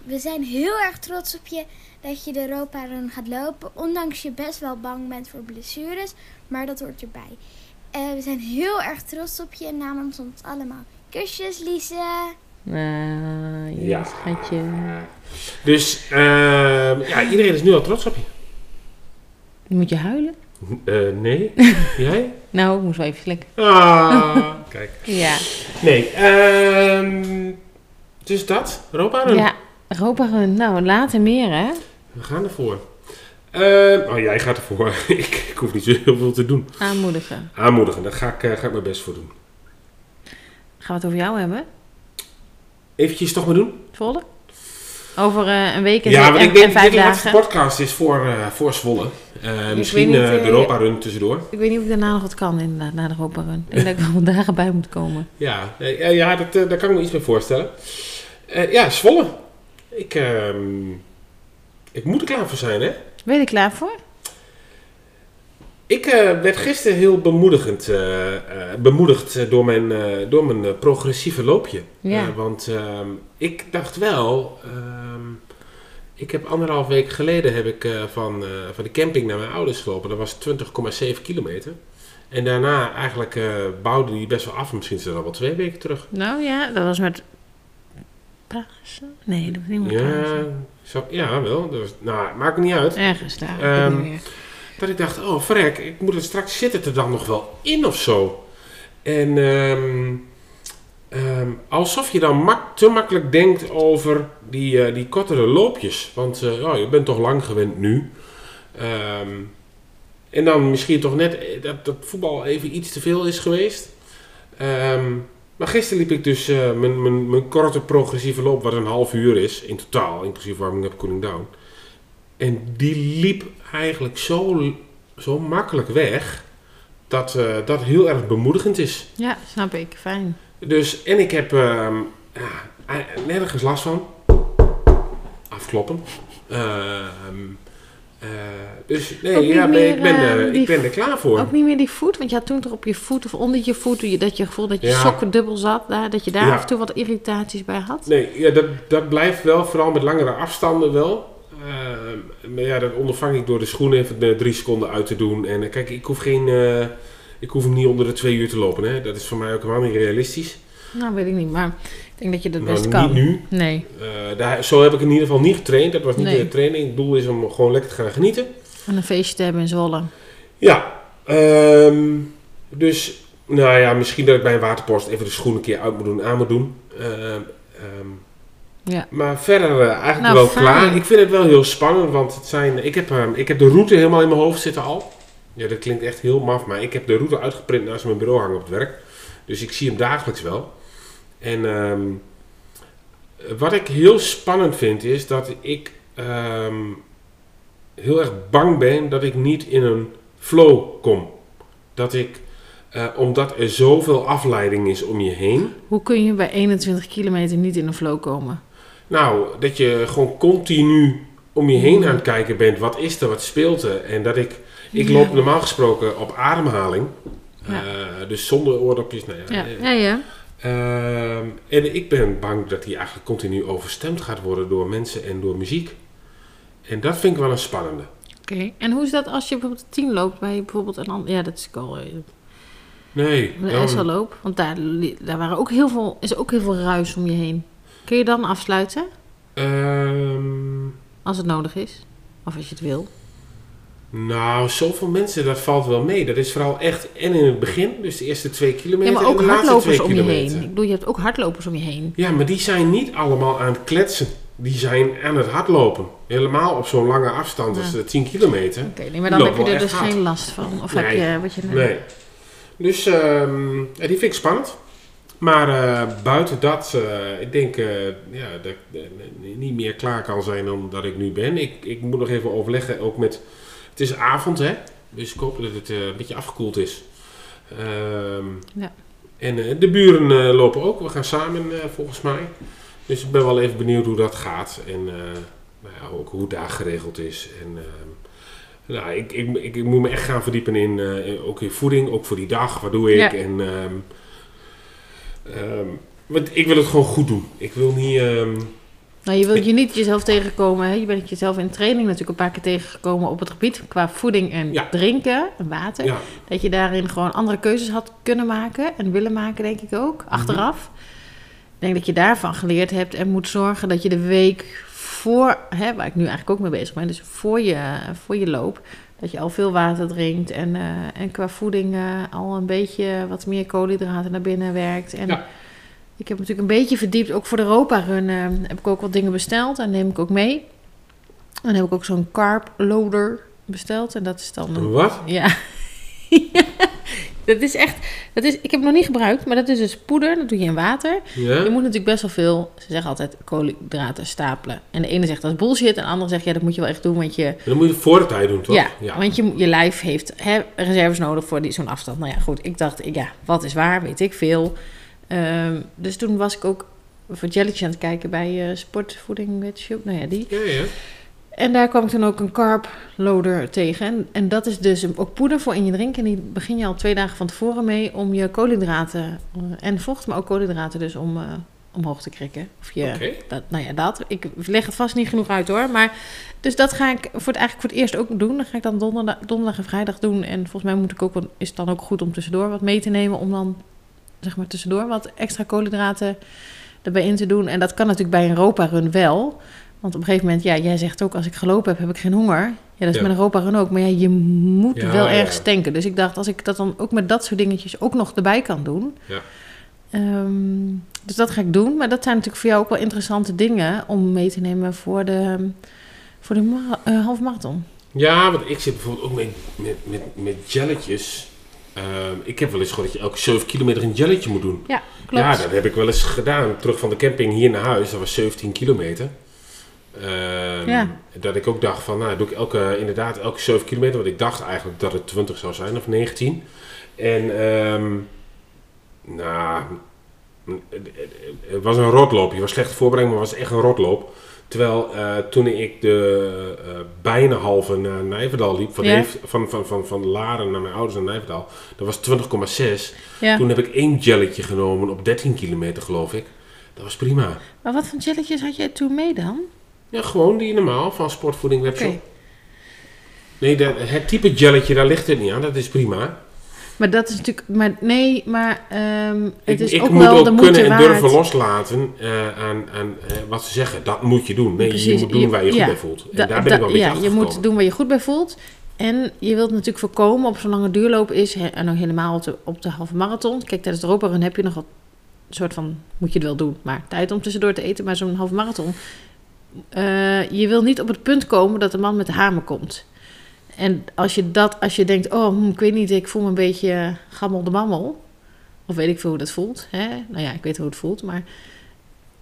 L: we zijn heel erg trots op je dat je de Europa Run gaat lopen. Ondanks je best wel bang bent voor blessures, maar dat hoort erbij. Eh, we zijn heel erg trots op je namens ons allemaal. Kusjes Lise.
G: Ah, ja,
J: Ja.
G: schatje.
J: Dus eh, ja, iedereen is nu al trots op je.
G: Moet je huilen?
J: Eh,
G: *laughs*
J: nee. Jij?
G: Nou, ik moest wel even slikken. *laughs*
J: Ah, kijk.
G: Ja.
J: Nee, ehm dus dat, Europa Run.
G: Ja, Europa Run. Nou, later meer, hè?
J: We gaan ervoor. Eh, oh, jij gaat ervoor. *laughs* ik, ik hoef niet zo heel veel te doen.
G: Aanmoedigen.
J: Aanmoedigen, daar ga ik, eh, ga ik mijn best voor doen.
G: Gaan we het over jou hebben?
J: Eventjes toch maar doen?
G: Zwolle? Over eh, een week en,
J: ja, want
G: en-
J: ik denk
G: en
J: dat
G: vijf
J: dit de laatste
G: dagen.
J: podcast is voor, eh, voor Zwolle. Eh, misschien
G: niet,
J: eh, de
G: eh,
J: Europa Run tussendoor.
G: Ik weet niet of ik daarna nog wat kan, inderdaad, na de Europa Run. Ik denk
J: *laughs*
G: dat ik er wel dagen bij moet komen.
J: Ja, nee, ja, ja dat, eh, daar kan ik me iets mee voorstellen. Eh, ja, Zwolle. Ik, ehm, ik moet er klaar voor zijn, hè?
G: Ben je er klaar voor?
J: Ik eh, werd gisteren heel bemoedigend, eh, eh, bemoedigd eh, door mijn, eh, door mijn eh, progressieve loopje.
G: Ja.
J: Eh, want ehm, ik dacht wel, ehm, ik heb anderhalf week geleden heb ik, eh, van, eh, van de camping naar mijn ouders gelopen. Dat was 20,7 kilometer. En daarna eigenlijk eh, bouwde die best wel af. Misschien is dat al wel twee weken terug.
G: Nou ja, dat was met... Pasen? Nee, dat was niet met
J: Ja,
G: Pasen.
J: zo, ja wel. Dus, nou, maakt me niet uit.
G: Ergens daar, ik
J: Ehm,
G: weet niet meer.
J: dat ik dacht, oh vrek, ik moet er straks zitten het er dan nog wel in of zo. En ehm, ehm, alsof je dan mak te makkelijk denkt over die, eh, die kortere loopjes. Want eh, oh, je bent toch lang gewend nu. Ehm, en dan misschien toch net eh, dat, dat voetbal even iets te veel is geweest. Ehm, maar gisteren liep ik dus eh, mijn, mijn, mijn korte progressieve loop, wat een half uur is in totaal, inclusief warming-up, cooling-down. En die liep eigenlijk zo, zo makkelijk weg dat eh, dat heel erg bemoedigend is.
G: Ja, snap ik. Fijn.
J: Dus, en ik heb ehm, ja, eh, nergens last van. Afkloppen. Ehm, eh, dus nee,
G: Ook niet
J: ja, nee ik, ben,
G: meer,
J: er-
G: eh, die
J: ik ben er klaar voor.
G: Ook niet meer die voet, want je had toen toch op je voet of onder je voet je- dat je gevoel dat je
J: Ja.
G: sokken dubbel zat, daar, dat je daar
J: Ja.
G: af en toe wat irritaties bij had.
J: Nee, ja, dat, dat blijft wel, vooral met langere afstanden wel. Ehm, maar ja, dat ondervang ik door de schoenen even eh, drie seconden uit te doen. En eh, kijk, ik hoef, geen, eh, ik hoef hem niet onder de twee uur te lopen. Hè. Dat is voor mij ook helemaal niet realistisch.
G: Nou, weet ik niet, maar ik denk dat je dat
J: Nou,
G: best
J: niet
G: kan.
J: nu.
G: Nee.
J: Eh, daar, zo heb ik in ieder geval niet getraind. Dat was niet
G: Nee.
J: de training. Het doel is om gewoon lekker te gaan genieten.
G: En een feestje te hebben in Zwolle.
J: Ja, ehm, dus nou ja, misschien dat ik bij een waterpost even de schoenen een keer uit moet doen, aan moet doen. Ehm, ehm, Ja.
I: Maar verder eh, eigenlijk
J: Nou,
I: wel
J: fijn.
I: klaar. Ik vind het wel heel spannend, want het zijn, ik, heb, eh, ik heb de route helemaal in mijn hoofd zitten al. Ja, dat klinkt echt heel maf, maar ik heb de route uitgeprint naast mijn bureau hangen op het werk. Dus ik zie hem dagelijks wel. En ehm, wat ik heel spannend vind, is dat ik ehm, heel erg bang ben dat ik niet in een flow kom. Dat ik, eh, omdat er zoveel afleiding is om je heen,
J: Hoe kun je bij 21 kilometer niet in een flow komen?
I: nou, dat je gewoon continu om je heen aan het kijken bent. Wat is er? Wat speelt er? En dat ik... Ik
J: Ja.
I: loop normaal gesproken op ademhaling.
J: Ja.
I: Eh, dus zonder oordopjes. Nou ja,
J: Ja,
I: eh.
J: ja, ja.
I: Ehm, en ik ben bang dat die eigenlijk continu overstemd gaat worden door mensen en door muziek. En dat vind ik wel een spannende.
J: Oké. En hoe is dat als je bijvoorbeeld 10 loopt bij bijvoorbeeld een ander... Ja, dat is ook al... eh,
I: Nee.
J: Een
I: dan-
J: loop Want daar, li- daar waren ook heel veel, is ook heel veel ruis om je heen. Kun je dan afsluiten?
I: Ehm,
J: Als het nodig is. Of als je het wil.
I: nou, zoveel mensen, dat valt wel mee. Dat is vooral echt en in het begin, dus de eerste twee kilometer.
J: ja,
I: en
J: maar ook
I: de laatste
J: hardlopers
I: twee
J: om je
I: kilometer.
J: heen. Ik bedoel, je hebt ook hardlopers om je heen.
I: Ja, maar die zijn niet allemaal aan het kletsen. Die zijn aan het hardlopen. Helemaal op zo'n lange afstand als
J: Ja.
I: de 10 kilometer.
J: Oké, nee, maar
I: Die
J: dan heb
I: lopen
J: je er
I: wel
J: dus
I: echt hard.
J: geen last van. Of
I: Nee.
J: heb je wat je...
I: Nee. Dus ehm, ja, die vind ik spannend. Maar eh, buiten dat, eh, ik denk eh, ja, dat ik eh, niet meer klaar kan zijn dan dat ik nu ben. Ik, ik moet nog even overleggen, ook met... Het is avond, hè? Dus ik hoop dat het eh, een beetje afgekoeld is. Ehm,
J: Ja.
I: En eh, de buren eh, lopen ook. We gaan samen, eh, volgens mij. Dus ik ben wel even benieuwd hoe dat gaat. En eh, nou ja, ook hoe het daar geregeld is. En, ehm, nou, ik, ik, ik, ik moet me echt gaan verdiepen in, eh, in- ook in voeding. Ook voor die dag. Wat doe ik?
J: Ja.
I: En, ehm, ehm, want ik wil het gewoon goed doen. Ik wil niet... ehm,
J: Nou, je wilt je niet jezelf tegenkomen. Hè? Je bent jezelf in training natuurlijk een paar keer tegengekomen op het gebied qua voeding en drinken en water.
I: Ja.
J: Dat je daarin gewoon andere keuzes had kunnen maken en willen maken, denk ik ook,
I: Mhm.
J: achteraf. Ik denk dat je daarvan geleerd hebt en moet zorgen dat je de week voor, hè, waar ik nu eigenlijk ook mee bezig ben, dus voor je, voor je loop, dat je al veel water drinkt en, eh, en qua voeding eh, al een beetje wat meer koolhydraten naar binnen werkt. En
I: Ja.
J: ik heb natuurlijk een beetje verdiept, ook voor de Europa Run eh, heb ik ook wat dingen besteld en neem ik ook mee. En heb ik ook zo'n carb loader besteld en dat is dan... een-
I: Wat?
J: Ja. *laughs* dat is echt, dat is, ik heb het nog niet gebruikt, maar dat is dus poeder, dat doe je in water.
I: Ja.
J: Je moet natuurlijk best wel veel, ze zeggen altijd, koolhydraten stapelen. En de ene zegt dat is bullshit en de andere zegt ja, dat moet je wel echt doen, want je...
I: dan moet je het voor de tijd doen, toch?
J: Ja, want je, je lijf heeft hè, reserves nodig voor die- zo'n afstand. Nou ja, goed, ik dacht, ik- ja, wat is waar, weet ik veel. Ehm, dus toen was ik ook voor Jellytje aan het kijken bij eh, Sportvoeding met Shoop, nou ja, die.
I: Ja, ja.
J: En daar kwam ik toen ook een carb loader tegen. En, en dat is dus ook poeder voor in je drink. En die begin je al twee dagen van tevoren mee om je koolhydraten eh, en vocht, maar ook koolhydraten dus om, eh, omhoog te krikken. Of je,
I: Oké.
J: dat, nou ja, dat. Ik leg het vast niet genoeg uit hoor. Maar, dus dat ga ik voor het, eigenlijk voor het eerst ook doen. Dat ga ik dan donderdag, donderdag en vrijdag doen. En volgens mij moet ik ook, wel- is het dan ook goed om tussendoor wat mee te nemen. Om dan zeg maar tussendoor wat extra koolhydraten erbij in te doen. En dat kan natuurlijk bij een Europa Run wel. Want op een gegeven moment, ja, jij zegt ook als ik gelopen heb, heb ik geen honger. Ja, dat is
M: Ja.
J: met een Europa Run ook. Maar ja, je moet
M: Ja,
J: wel
M: ja,
J: ergens
M: ja.
J: tanken. Dus ik dacht, als ik dat dan ook met dat soort dingetjes ook nog erbij kan doen.
I: Ja.
J: Ehm, dus dat ga ik doen. Maar dat zijn natuurlijk voor jou ook wel interessante dingen om mee te nemen voor de, voor de mara- eh, halve marathon.
I: Ja, want ik zit bijvoorbeeld ook met, met, met, met jelletjes. Ehm, ik heb wel eens gehoord dat je elke 7 kilometer een jelletje moet doen.
J: Ja, klopt.
I: Ja, dat heb ik wel eens gedaan. Terug van de camping hier naar huis, dat was 17 kilometer. Ehm,
J: Ja.
I: Dat ik ook dacht van, nou doe ik elke, inderdaad elke 7 kilometer. Want ik dacht eigenlijk dat het 20 zou zijn of 19. En ehm nou, het was een rotloop. Je was slecht voorbereid, maar het was echt een rotloop. Terwijl eh, toen ik de eh, bijna halve naar Nijverdal liep, van,
J: Ja.
I: Heef- van, van, van, van Laren naar mijn ouders naar Nijverdal, dat was 20,6.
J: Ja.
I: Toen heb ik één jelletje genomen op 13 kilometer, geloof ik. Dat was prima.
J: Maar wat voor jelletjes had jij toen mee dan?
I: Ja, gewoon die normaal van Sportvoeding Webshop. Nee, dat, het type jelletje, daar ligt het niet aan. Dat is prima.
J: Maar dat is natuurlijk... Maar nee, maar ehm, het
I: Ik,
J: is
I: ik
J: ook
I: moet
J: wel
I: ook
J: de moeite
I: kunnen en
J: waard.
I: durven loslaten eh, aan, aan eh, wat ze zeggen. Dat moet je doen. Nee, je
J: Precies,
I: moet doen waar je goed
J: ja,
I: bij voelt. En
J: da-
I: daar ben
J: da-
I: ik wel een beetje
J: Ja, je
I: achtergekomen.
J: moet doen waar je goed bij voelt. En je wilt natuurlijk voorkomen op zo'n lange duurloop is... he- en dan helemaal op de, op de halve marathon. Kijk, tijdens de Europa Run heb je nog wat soort van moet je het wel doen, maar tijd om tussendoor te eten, maar zo'n half marathon. eh, je wil niet op het punt komen dat de man met de hamer komt. En als je dat, als je denkt, oh, hm, ik weet niet, ik voel me een beetje eh, gammel de mammel. Of weet ik veel hoe dat voelt. Hè? Nou ja, ik weet hoe het voelt, maar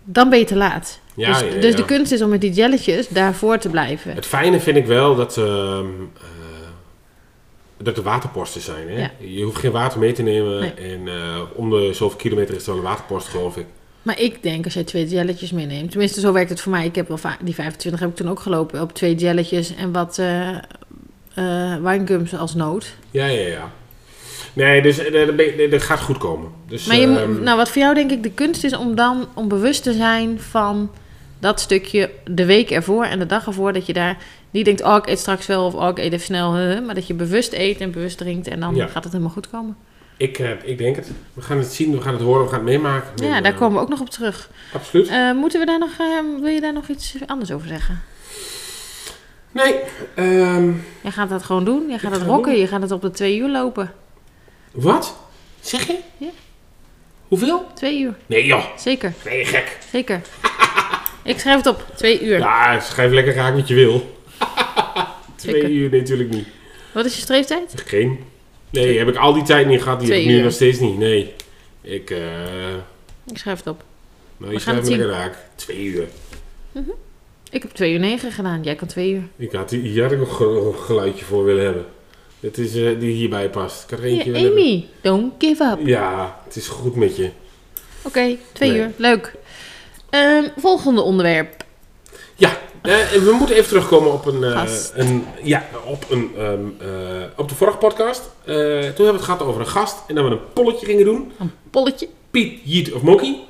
J: dan ben je te laat.
I: Ja,
J: dus
I: ja,
J: dus
I: ja.
J: de kunst is om met die jelletjes daarvoor te blijven.
I: Het fijne vind ik wel dat, ehm, eh, dat er waterposten zijn. Hè?
J: Ja.
I: Je hoeft geen water mee te nemen.
J: Nee.
I: En eh, om de zoveel kilometer is er wel een waterpost, geloof ik.
J: Maar ik denk als jij twee jelletjes meeneemt, tenminste zo werkt het voor mij. Ik heb wel va- die 25 heb ik toen ook gelopen op twee jelletjes en wat eh eh, wijngums als nood.
I: Ja, ja, ja. Nee, dus eh, dat ben je- dat gaat goed komen. Dus,
J: maar je moet-
I: ehm,
J: nou, wat voor jou denk ik de kunst is om dan om bewust te zijn van dat stukje de week ervoor en de dag ervoor dat je daar niet denkt oh ik eet straks wel of oh ik eet even snel, hè, maar dat je bewust eet en bewust drinkt en dan
I: Ja.
J: gaat het helemaal goed komen.
I: ik, eh, ik denk het. We gaan het zien, we gaan het horen, we gaan het meemaken.
J: Ja, daar komen we ook nog op terug.
I: eh, Absoluut.
J: Eh, moeten we daar nog, eh, wil je daar nog iets anders over zeggen?
I: Nee. ehm,
J: Jij gaat dat gewoon doen. Jij gaat
I: ga
J: het
I: het
J: rocken.
I: doen.
J: Je gaat het op de twee uur lopen.
I: Wat? Zeg je?
J: Ja.
I: Hoeveel?
J: Twee uur.
I: Nee joh.
J: Zeker.
I: Nee, gek.
J: Zeker. *laughs* Ik schrijf het op. Twee uur.
I: Ja, schrijf lekker raak wat je wil.
J: *laughs* Zeker.
I: Twee uur, nee, natuurlijk niet.
J: Wat is je streeftijd?
I: Geen. Nee, heb ik al die tijd niet gehad. Die heb
J: Twee
I: ik nu
J: uur.
I: nog steeds niet. Nee. Ik, eh...
J: Ik schrijf het op.
I: Nou, je
J: gaan
I: schrijft
J: het
I: me
J: zien.
I: lekker raak. Twee uur.
J: Mhm. Ik heb twee uur negen gedaan. Jij kan twee uur.
I: Ik had, hier had ik nog een geluidje voor willen hebben. Het is eh, die hierbij past. Ik had er
J: Hey,
I: eentje willen
J: Amy, don't give up.
I: hebben. Ja, het is goed met je.
J: Oké, twee
I: Nee.
J: uur. Leuk. Ehm, volgende onderwerp.
I: Ja, eh, we moeten even terugkomen op een, eh,
J: Gast.
I: een ja, op een, ehm, eh, op de vorige podcast. Eh, toen hebben we het gehad over een gast en dat we een polletje gingen doen.
J: Een polletje?
I: Piet, Jiet of Mokkie.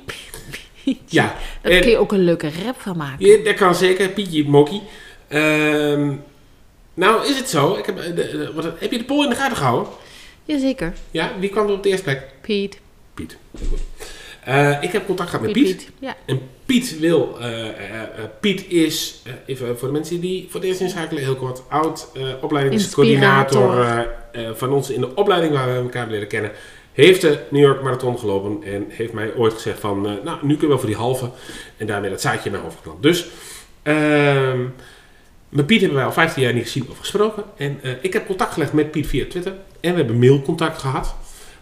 I: Ja,
J: Daar
I: en-
J: kun je ook een leuke rap van maken.
I: Ja, dat kan zeker. Piet, Jiet, Mokkie. Ehm, nou, is het zo? Ik heb, eh, de, de- wat, heb je de poll in de gaten gehouden?
J: Jazeker.
I: Ja, wie kwam er op de eerste plek?
J: Piet.
I: Piet. Goed. Eh, ik heb contact gehad met
J: Piet,
I: Piet.
J: Piet. Ja.
I: En Piet wil. eh, eh, eh, Piet is, eh, even voor de mensen die voor het eerst inschakelen, heel kort, oud eh, opleidingscoördinator eh, eh, van ons in de opleiding waar we elkaar hebben leren kennen. Heeft de New York Marathon gelopen en heeft mij ooit gezegd van, eh, nou, nu kunnen we wel voor die halve. En daarmee dat zaadje in mijn hoofd geplant. Dus, ehm met Piet hebben wij al 15 jaar niet gezien of gesproken. En eh, ik heb contact gelegd met Piet via Twitter. En we hebben mailcontact gehad.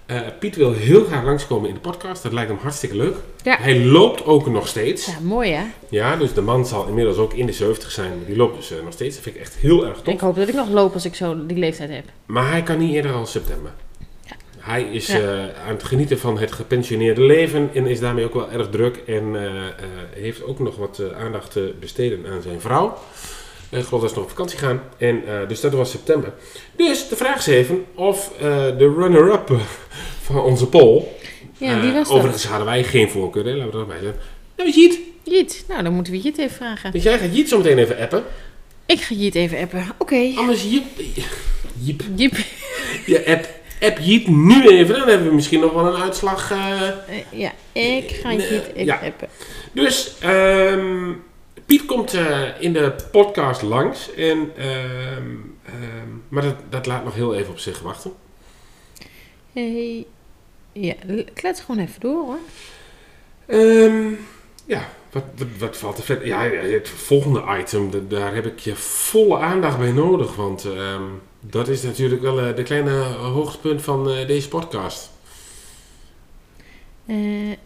I: Eh, Piet wil heel graag langskomen in de podcast. Dat lijkt hem hartstikke leuk.
J: Ja.
I: Hij loopt ook nog steeds.
J: Ja, mooi hè?
I: Ja, dus de man zal inmiddels ook in de 70 zijn. Die loopt dus eh, nog steeds. Dat vind ik echt heel erg
J: Ik
I: tof.
J: hoop dat ik nog loop als ik zo die leeftijd heb.
I: Maar hij kan niet eerder dan september. Hij is
J: Ja.
I: eh, aan het genieten van het gepensioneerde leven en is daarmee ook wel erg druk. En eh, eh, heeft ook nog wat eh, aandacht te besteden aan zijn vrouw. Eh, Ik geloof dat ze nog op vakantie gaan. En, eh, dus dat was september. Dus de vraag is even of eh, de runner-up *laughs* van onze poll...
J: Ja, wie
I: eh,
J: was dat?
I: Overigens hadden wij geen voorkeur, hè? laten we dat bij zeggen. Nou, Jiet.
J: Jiet. Nou, dan moeten we Jiet even vragen.
I: Dus jij gaat Jiet zo meteen even appen.
J: Ik ga Jiet even appen. Oké.
I: Anders Jiep. Jiep. *laughs*
J: Jiep.
I: Je app, app Jiet nu even. Dan hebben we misschien nog wel een uitslag... eh,
J: Eh, ja, ik ga
I: Eh,
J: Jiet even
I: ja.
J: appen.
I: Dus ehm, Piet komt eh, in de podcast langs. En, ehm, ehm, maar dat, dat laat nog heel even op zich wachten.
J: Hey. Ja, l- klets gewoon even door hoor.
I: Ehm, ja, wat, wat, wat valt er verder? Ja, ja, het volgende item, da- daar heb ik je volle aandacht bij nodig. Want ehm, dat is natuurlijk wel eh, de kleine hoogtepunt van eh, deze podcast.
J: Eh,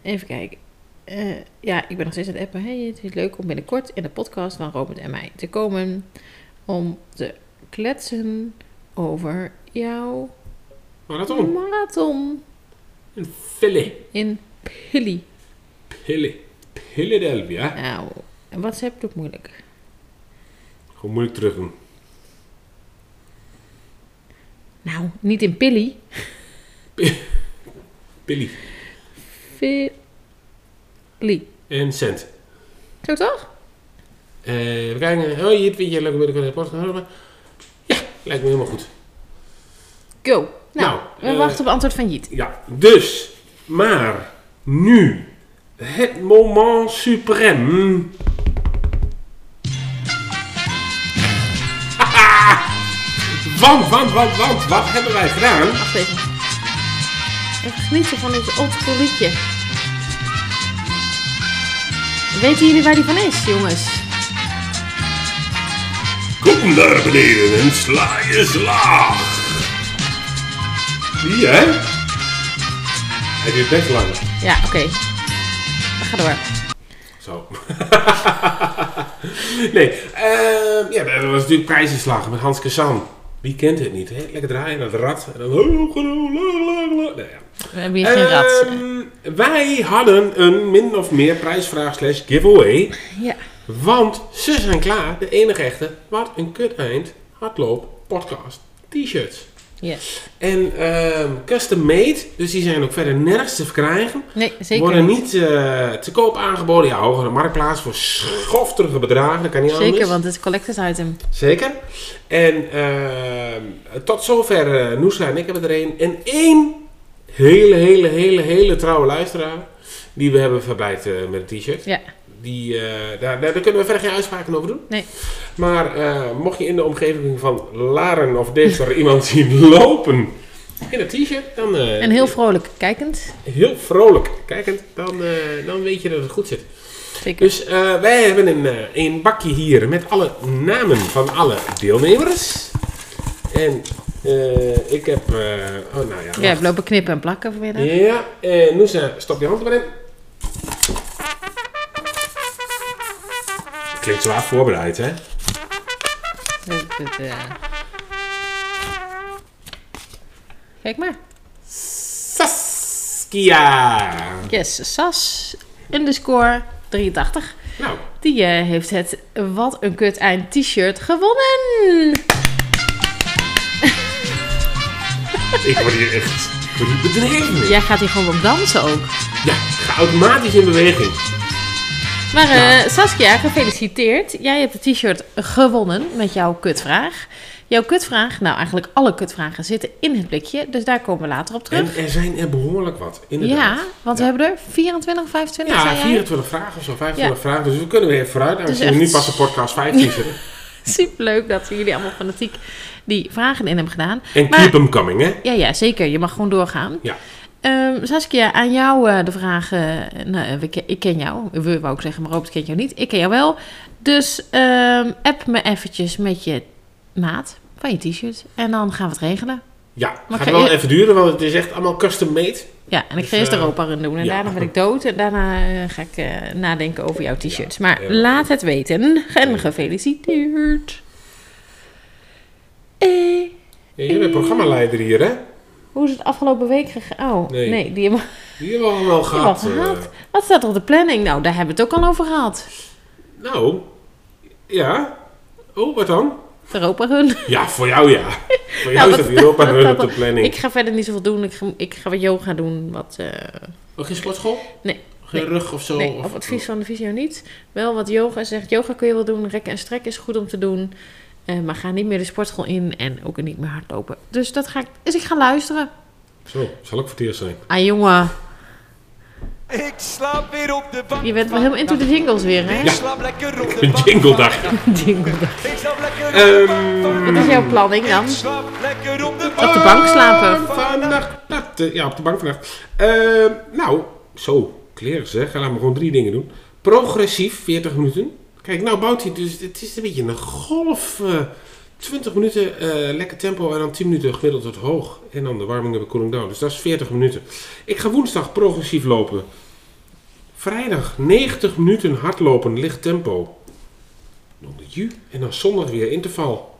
J: even kijken. Eh, ja, ik ben nog steeds aan het appen. Hey, het is leuk om binnenkort in de podcast van Robert en mij te komen. Om te kletsen over jouw
I: Marathon.
J: marathon
I: Een Pille.
J: in Pili.
I: Pille. Philadelphia.
J: Nou, WhatsApp doet moeilijk.
I: Gewoon moeilijk terug doen.
J: Nou, niet in Pili.
I: Pilly.
J: Pili.
I: En cent.
J: Zo toch?
I: Eh, we kijken. Oh, hier vind je leuk om binnenkort in de podcast. te horen. Ja, lijkt me helemaal goed.
J: Go. Nou,
I: Nou,
J: we
I: eh,
J: wachten op antwoord van Jiet.
I: Ja, dus, maar nu het moment suprême. *laughs* Haha. want, want, want, want, wat hebben wij gedaan?
J: Wacht even. Even genieten van dit oldschool liedje. Weten jullie waar die van is, jongens?
I: Kom naar beneden en sla je slaag. Die, hè? Hij duurt best lang.
J: Ja, oké. We gaan door.
I: Zo. *laughs* nee, ehm, ja, dat was natuurlijk prijzenslagen met Hans Kassan. Wie kent het niet, hè? Lekker draaien, dat rad. En dan... Nou ja.
J: We hebben hier geen rat.
I: Ehm, Wij hadden een min of meer prijsvraag slash giveaway.
J: Ja.
I: Want ze zijn klaar, de enige echte. Wat een kut eind. Hardloop, podcast, t-shirts.
J: Yes.
I: En ehm, custom made, dus die zijn ook verder nergens te verkrijgen.
J: Nee, zeker
I: Worden niet eh, te koop aangeboden. Ja, hogere marktplaats voor schofterige bedragen. Dat kan niet
J: Zeker,
I: anders.
J: want het is collectors item.
I: Zeker. En ehm, tot zover eh Noesra en ik hebben er een. En één hele, hele, hele, hele trouwe luisteraar. Die we hebben verbijt eh, met een t-shirt.
J: Ja.
I: Die, eh, daar, daar daar kunnen we verder geen uitspraken over doen.
J: Nee.
I: Maar eh, mocht je in de omgeving van Laren of Deventer *laughs* iemand zien lopen in een t-shirt, dan eh,
J: En heel vrolijk kijkend.
I: heel vrolijk kijkend, dan, eh, dan weet je dat het goed zit. Dus eh, wij hebben een, eh, een bakje hier met alle namen van alle deelnemers. En eh, ik heb... eh, oh, nou ja.
J: Jij hebt lopen knippen en plakken vanmiddag.
I: Ja, en Noosa, stop je hand erin. Klinkt zwaar voorbereid, hè?
J: Dat- dat, eh. Kijk maar.
I: Kia!
J: Yes, Sas underscore 83.
I: Nou.
J: Die eh, heeft het Wat een kut eind t-shirt gewonnen.
I: Ik word hier echt ik word hier bedreven. in.
J: Jij gaat hier gewoon op dansen ook.
I: Ja, ik ga automatisch in beweging. Nou.
J: Maar eh, Saskia, gefeliciteerd. Jij hebt het t-shirt gewonnen met jouw kutvraag. Jouw kutvraag, nou eigenlijk alle kutvragen zitten in het blikje. Dus daar komen we later op terug.
I: En er zijn er behoorlijk wat, inderdaad.
J: Ja, want we hebben er 24, 25
I: Ja,
J: zei jij?
I: 24 vragen of zo, 25
J: Ja.
I: vragen. Dus we kunnen weer vooruit. En
J: Dus
I: we kunnen
J: echt-
I: nu pas de podcast 15 zitten.
J: *laughs* Superleuk dat jullie allemaal fanatiek die vragen in hebben gedaan.
I: En
J: Maar-
I: keep 'em coming, hè?
J: Ja, ja, zeker. Je mag gewoon doorgaan.
I: Ja.
J: Ehm, Saskia, aan jou eh, de vraag. eh, nou, eh, we ke- ik ken jou. We wou ik zeggen, maar Robert kent jou niet. Ik ken jou wel. Dus ehm, app me eventjes met je maat van je t-shirt. En dan gaan we het regelen. e-
I: Ja,
J: Maar
I: gaat
J: ga
I: wel
J: je-
I: even duren, want het is echt allemaal custom made.
J: Ja, en ik ga
I: Dus,
J: eerst
I: eh,
J: Europa run doen. En
I: ja.
J: daarna ben ik dood. En daarna eh, ga ik eh, nadenken over jouw t-shirts. maar laat het weten. En gefeliciteerd. Eh,
I: Ja, jij bent programmaleider hier, hè?
J: hoe is het afgelopen week gegaan? Oh,
I: Nee.
J: nee. die hebben
I: Die hebben we allemaal
J: die hebben we
I: gehad.
J: al gehad.
I: eh.
J: Wat staat er op de planning? Nou, daar hebben we het ook al over gehad.
I: nou, ja. Oh, wat dan?
J: De Europa Run.
I: Ja, voor jou ja. Voor jou
J: Nou,
I: is
J: wat-
I: dat Europa
J: wat
I: Run
J: *laughs* staat
I: op de
J: er-
I: planning.
J: Ik ga verder niet zoveel doen. Ik ga, ik ga wat yoga doen. Wat, eh,
I: Oh, geen sportschool?
J: Nee.
I: Geen
J: Nee.
I: rug of zo?
J: Nee,
I: of-
J: op advies van de visio niet. Wel wat yoga zegt. Yoga kun je wel doen. Rekken en strekken is goed om te doen. Eh, maar ga niet meer de sportschool in en ook niet meer hardlopen. Dus dat ga ik. Dus ik ga luisteren.
I: Zo, zal ook voor het eerst zijn.
J: Ah jongen,
K: Ik slaap weer op de bank.
J: je bent wel helemaal into de jingles weer, hè?
K: Ik slaap lekker op de
I: Een
K: bank.
I: jingledag.
K: *laughs*
J: Jingledag.
K: Ik slaap lekker op de
I: Ehm,
J: Wat is jouw planning dan?
K: Ik slaap lekker op de bank.
J: Op de bank slapen.
I: Vannacht. Dat, eh, ja, op de bank vannacht. Ehm, nou, zo. Kleren zeg. Ga laat me gewoon drie dingen doen. Progressief, 40 minuten. Kijk, nou bouwt hij dus. Het is een beetje een golf. eh, 20 minuten eh, lekker tempo en dan 10 minuten gemiddeld tot hoog. En dan de warming up en cooling down. Dus dat is 40 minuten. Ik ga woensdag progressief lopen. Vrijdag 90 minuten hardlopen, licht tempo. Dan de ju. En dan zondag weer interval.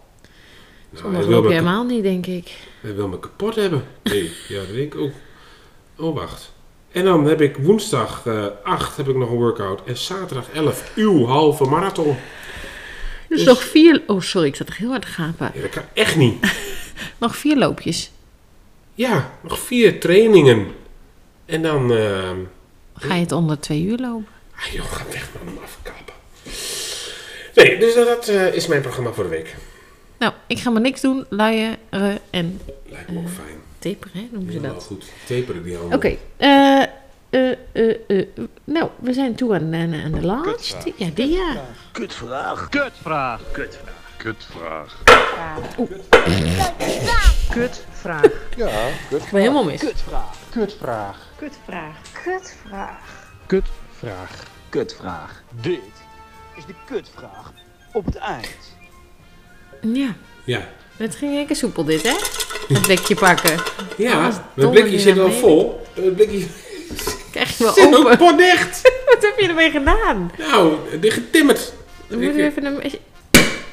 I: Nou,
J: Zondag
I: hij wil
J: loop je
I: me
J: helemaal niet, denk ik.
I: hij wil me kapot hebben. Nee, ja, dat denk ik ook. Oh, wacht. En dan heb ik woensdag eh 8 heb ik nog een workout. En zaterdag 11 uw halve marathon.
J: Dus
I: Dus-
J: nog vier. Oh, sorry, ik zat toch heel hard te gapen.
I: Ja, dat kan echt niet.
J: *laughs* Nog vier loopjes.
I: Ja, nog vier trainingen. En dan... ehm
J: Ga je het onder twee uur lopen?
I: ah, joh, ga weg man, afkappen. Nee, dus dat, dat, eh, is mijn programma voor de week.
J: Nou, ik ga maar niks doen, luieren en eh,
I: Lijkt me ook fijn.
J: taperen, hè, noemen ze
I: Helemaal
J: dat.
I: goed. Taperen die handen.
J: Oké, eh, eh, eh, eh, nou, we zijn toe aan, eh, aan, aan de laatste. Ja, die ja.
B: Kutvraag.
M: Kutvraag.
B: Kutvraag.
M: Kutvraag.
J: Kutvraag.
B: Ja,
J: Ik ben helemaal mis.
B: Kutvraag. Kutvraag.
J: Kutvraag.
B: Kutvraag.
N: kutvraag. Dit is de kutvraag op het eind.
G: Ja.
J: Ja.
G: Het ging lekker soepel dit, hè? Het blikje pakken.
J: Ja, mijn blikje zit al vol. Het blikje
G: Krijg je wel
J: zit
G: open.
J: ook potdicht.
G: *laughs* Wat heb je ermee gedaan?
J: Nou, dit getimmerd. eh,
G: Dan moeten we even een...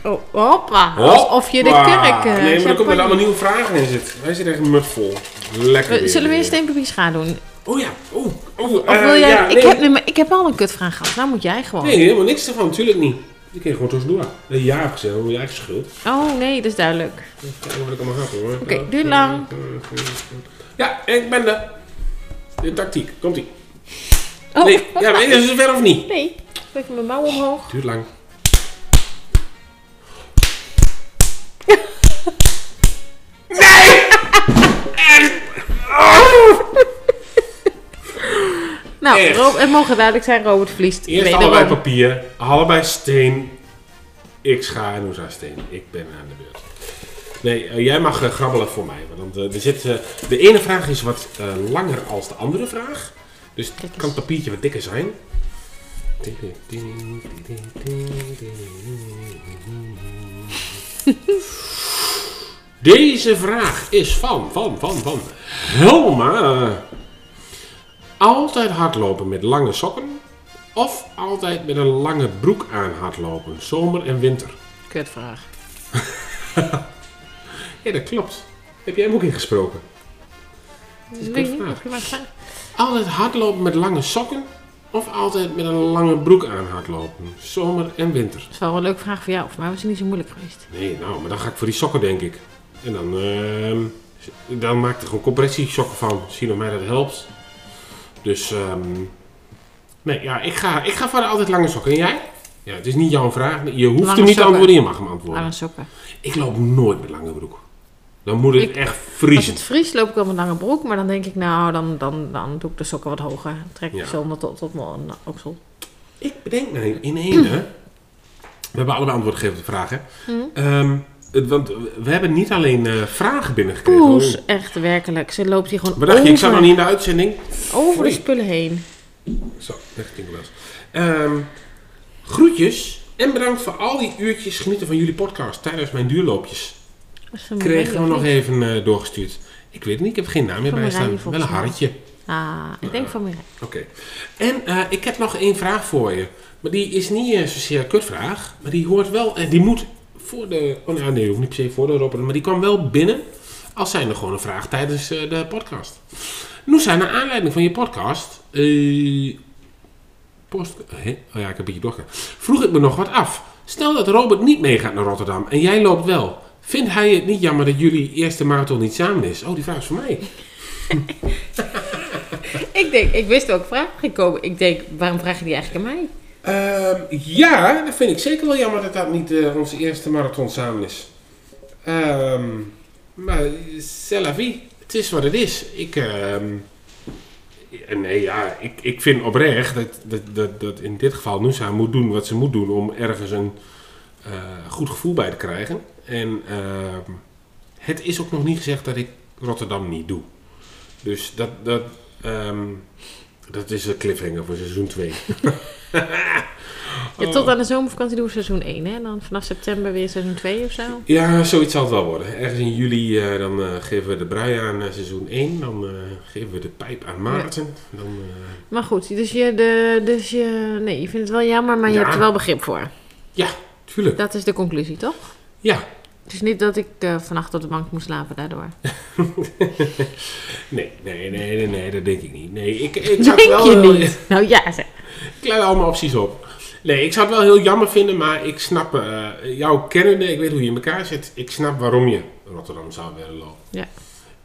G: Oh, hoppa. Alsof je de kurk... eh,
J: Nee, maar dan komen
G: champagne-
J: er allemaal nieuwe vragen in zitten. Hij zit echt mugvol. Lekker.
G: We- Zullen we
J: weer.
G: eerst een papier schaar doen?
J: Oh ja. Oh, oh,
G: Of wil jij...
J: ja,
G: ik,
J: nee.
G: heb, nee, maar ik heb al een kutvraag gehad. Nou moet jij gewoon.
J: Nee, helemaal niks ervan. Natuurlijk niet. Ik kreeg gewoon tussendoor. Een ja heb gezegd, je eigen schuld.
G: Oh nee, dat is duidelijk.
J: Even Kijken wat ik allemaal heb hoor. Eh,
G: Oké, duurt lang.
J: Ja, en ik ben er. De tactiek, komt ie. Nee, ja, maar is het ver of niet?
G: Oh. Nee. Doe even mijn mouw omhoog.
J: Duurt lang.
G: Nou, *laughs*
J: Echt.
G: Rob, Nou, het mogen duidelijk zijn, Robert verliest.
J: Eerst
G: wederom.
J: allebei papier, allebei steen. Ik schaar en Oeza steen. Ik ben aan de beurt. Nee, eh, jij mag eh, grabbelen voor mij. Want eh, er zit, eh, de ene vraag is wat eh, langer als de andere vraag. Dus het kan het papiertje wat dikker zijn. Deze vraag is van, van, van, van Helma. Altijd hardlopen met lange sokken of altijd met een lange broek aan hardlopen, zomer en winter?
G: Kutvraag.
J: *laughs* Ja, dat klopt. Heb jij hem ook ingesproken?
G: Dus ik weet niet of je mag gaan.
J: Altijd hardlopen met lange sokken of altijd met een lange broek aan hardlopen, zomer en winter?
G: Dat is wel een leuke vraag voor jou, of mij was het niet zo moeilijk geweest.
J: Nee, nou, maar dan ga ik voor die sokken, denk ik. En dan, ehm, dan maak ik er gewoon compressiesokken van. Misschien of mij dat helpt. Dus, ehm, nee, ja, ik ga, ik ga voor de altijd lange sokken. En jij? Ja, het is niet jouw vraag. Je hoeft
G: Lange
J: hem niet te
G: sokken.
J: antwoorden, je mag hem antwoorden.
G: Lange sokken.
J: Ik loop nooit met lange broek. Dan moet het
G: Ik-
J: echt
G: Als
J: vriezen.
G: het vriest loop ik wel met lange broek, maar dan denk ik, nou, dan, dan, dan doe ik de sokken wat hoger. Trek ik
J: Ja.
G: zonder tot, tot mijn oksel.
J: Ik bedenk me in één, hè. We hebben allebei antwoord gegeven op de vraag, hè.
G: Hm?
J: Ehm, het- want we hebben niet alleen eh, vragen binnengekregen.
G: Poes, echt werkelijk. Ze loopt hier gewoon
J: Wat dacht
G: over,
J: je, ik zat nog niet in de uitzending?
G: over de
J: Oei.
G: spullen heen.
J: Zo, weg Tinkerbells. Ehm groetjes en bedankt voor al die uurtjes genieten van jullie podcast tijdens mijn duurloopjes.
G: Dat is een
J: Kregen we
G: Marije,
J: nog
G: of
J: even eh, doorgestuurd. Ik weet het niet, ik heb geen naam meer
G: Van
J: bij
G: Marije,
J: staan. Wel
G: volgens
J: een
G: mij.
J: hartje.
G: niet. Ah, ik denk van Mireille.
J: Oké. En eh, ik heb nog één vraag voor je. Maar die is niet eh, zozeer een kutvraag. Maar die hoort wel... en die moet voor de... Oh nou, nee, hoeft niet per se voor de roppen. Maar die kwam wel binnen. Als zijnde gewoon een vraag tijdens eh, de podcast. Noesa, naar aanleiding van je podcast... eh, post, hè? oh ja, ik heb een beetje doorgegaan. Vroeg ik me nog wat af. Stel dat Robert niet meegaat naar Rotterdam en jij loopt wel. Vindt hij het niet jammer dat jullie eerste marathon niet samen is? Oh, die vraag is voor mij.
G: Ik denk, ik wist welke vraag ging komen. Ik denk, waarom vraag je die eigenlijk aan mij?
J: Ehm, ja, dat vind ik zeker wel jammer dat dat niet eh, onze eerste marathon samen is. Ehm, maar c'est la vie. Het is wat het is. Ik, ehm, eh, nee, ja, ik, ik vind oprecht dat, dat, dat, dat in dit geval Noosa moet doen wat ze moet doen om ergens een eh, goed gevoel bij te krijgen. En ehm, het is ook nog niet gezegd dat ik Rotterdam niet doe. Dus dat, dat, ehm, dat is een cliffhanger voor seizoen 2.
G: Ja, tot aan de zomervakantie doen we seizoen 1, hè? En dan vanaf september weer seizoen 2 of zo.
J: Ja, zoiets zal het wel worden. Ergens in juli eh, dan eh, geven we de brui aan eh, seizoen 1. Dan eh, geven we de pijp aan Maarten. Dan, eh,
G: Maar goed, dus je, de, dus je, nee, je vindt het wel jammer, maar je
J: Ja.
G: hebt er wel begrip voor.
J: Ja, tuurlijk.
G: Dat is de conclusie, toch?
J: Ja.
G: Het is niet dat ik eh, vannacht op de bank moest slapen daardoor.
J: *laughs* nee, nee, nee, nee, nee, dat denk ik niet. Nee, ik, ik zou
G: Denk
J: het wel
G: je
J: heel-
G: niet? Nou ja, zeg.
J: Ik leid allemaal opties op. Nee, ik zou het wel heel jammer vinden, maar ik snap eh, jouw kennende, ik weet hoe je in elkaar zit. Ik snap waarom je Rotterdam zou willen lopen.
G: Ja.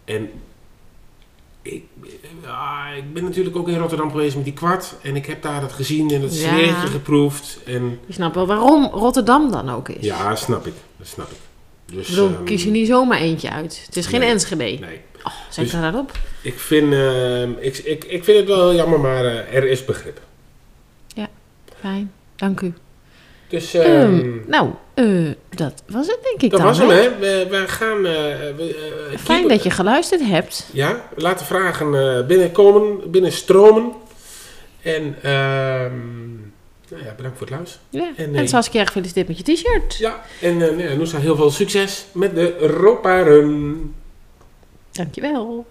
J: En ik, ja, ik ben natuurlijk ook in Rotterdam geweest met die kwart. En ik heb daar dat gezien en dat
G: Ja.
J: sneeuwtje geproefd. En
G: Je snapt wel waarom Rotterdam dan ook is.
J: Ja, dat snap ik. Dat snap ik. Dus,
G: ik bedoel,
J: ehm,
G: kies je niet zomaar eentje uit. Het is geen
J: nee,
G: Enschede.
J: Nee.
G: Oh, zet
J: Dus-
G: er dat op.
J: Ik vind, ehm, ik, ik, ik vind het wel heel jammer, maar eh, er is begrip.
G: Fijn, dank u.
J: Dus ehm,
G: Ehm, nou, eh, dat was het denk ik
J: dat
G: dan.
J: was hem, hè? We, we gaan... eh, we, eh,
G: Fijn
J: keep-
G: dat je geluisterd hebt.
J: Ja, we laten vragen eh, binnenkomen, binnenstromen. En ehm, Nou ja, bedankt voor het luisteren.
O: Ja. En,
J: eh,
O: Saskia, gefeliciteerd met je t-shirt.
J: Ja. En eh nou ja, Noosa, heel veel succes met de Europa Run.
O: Dankjewel.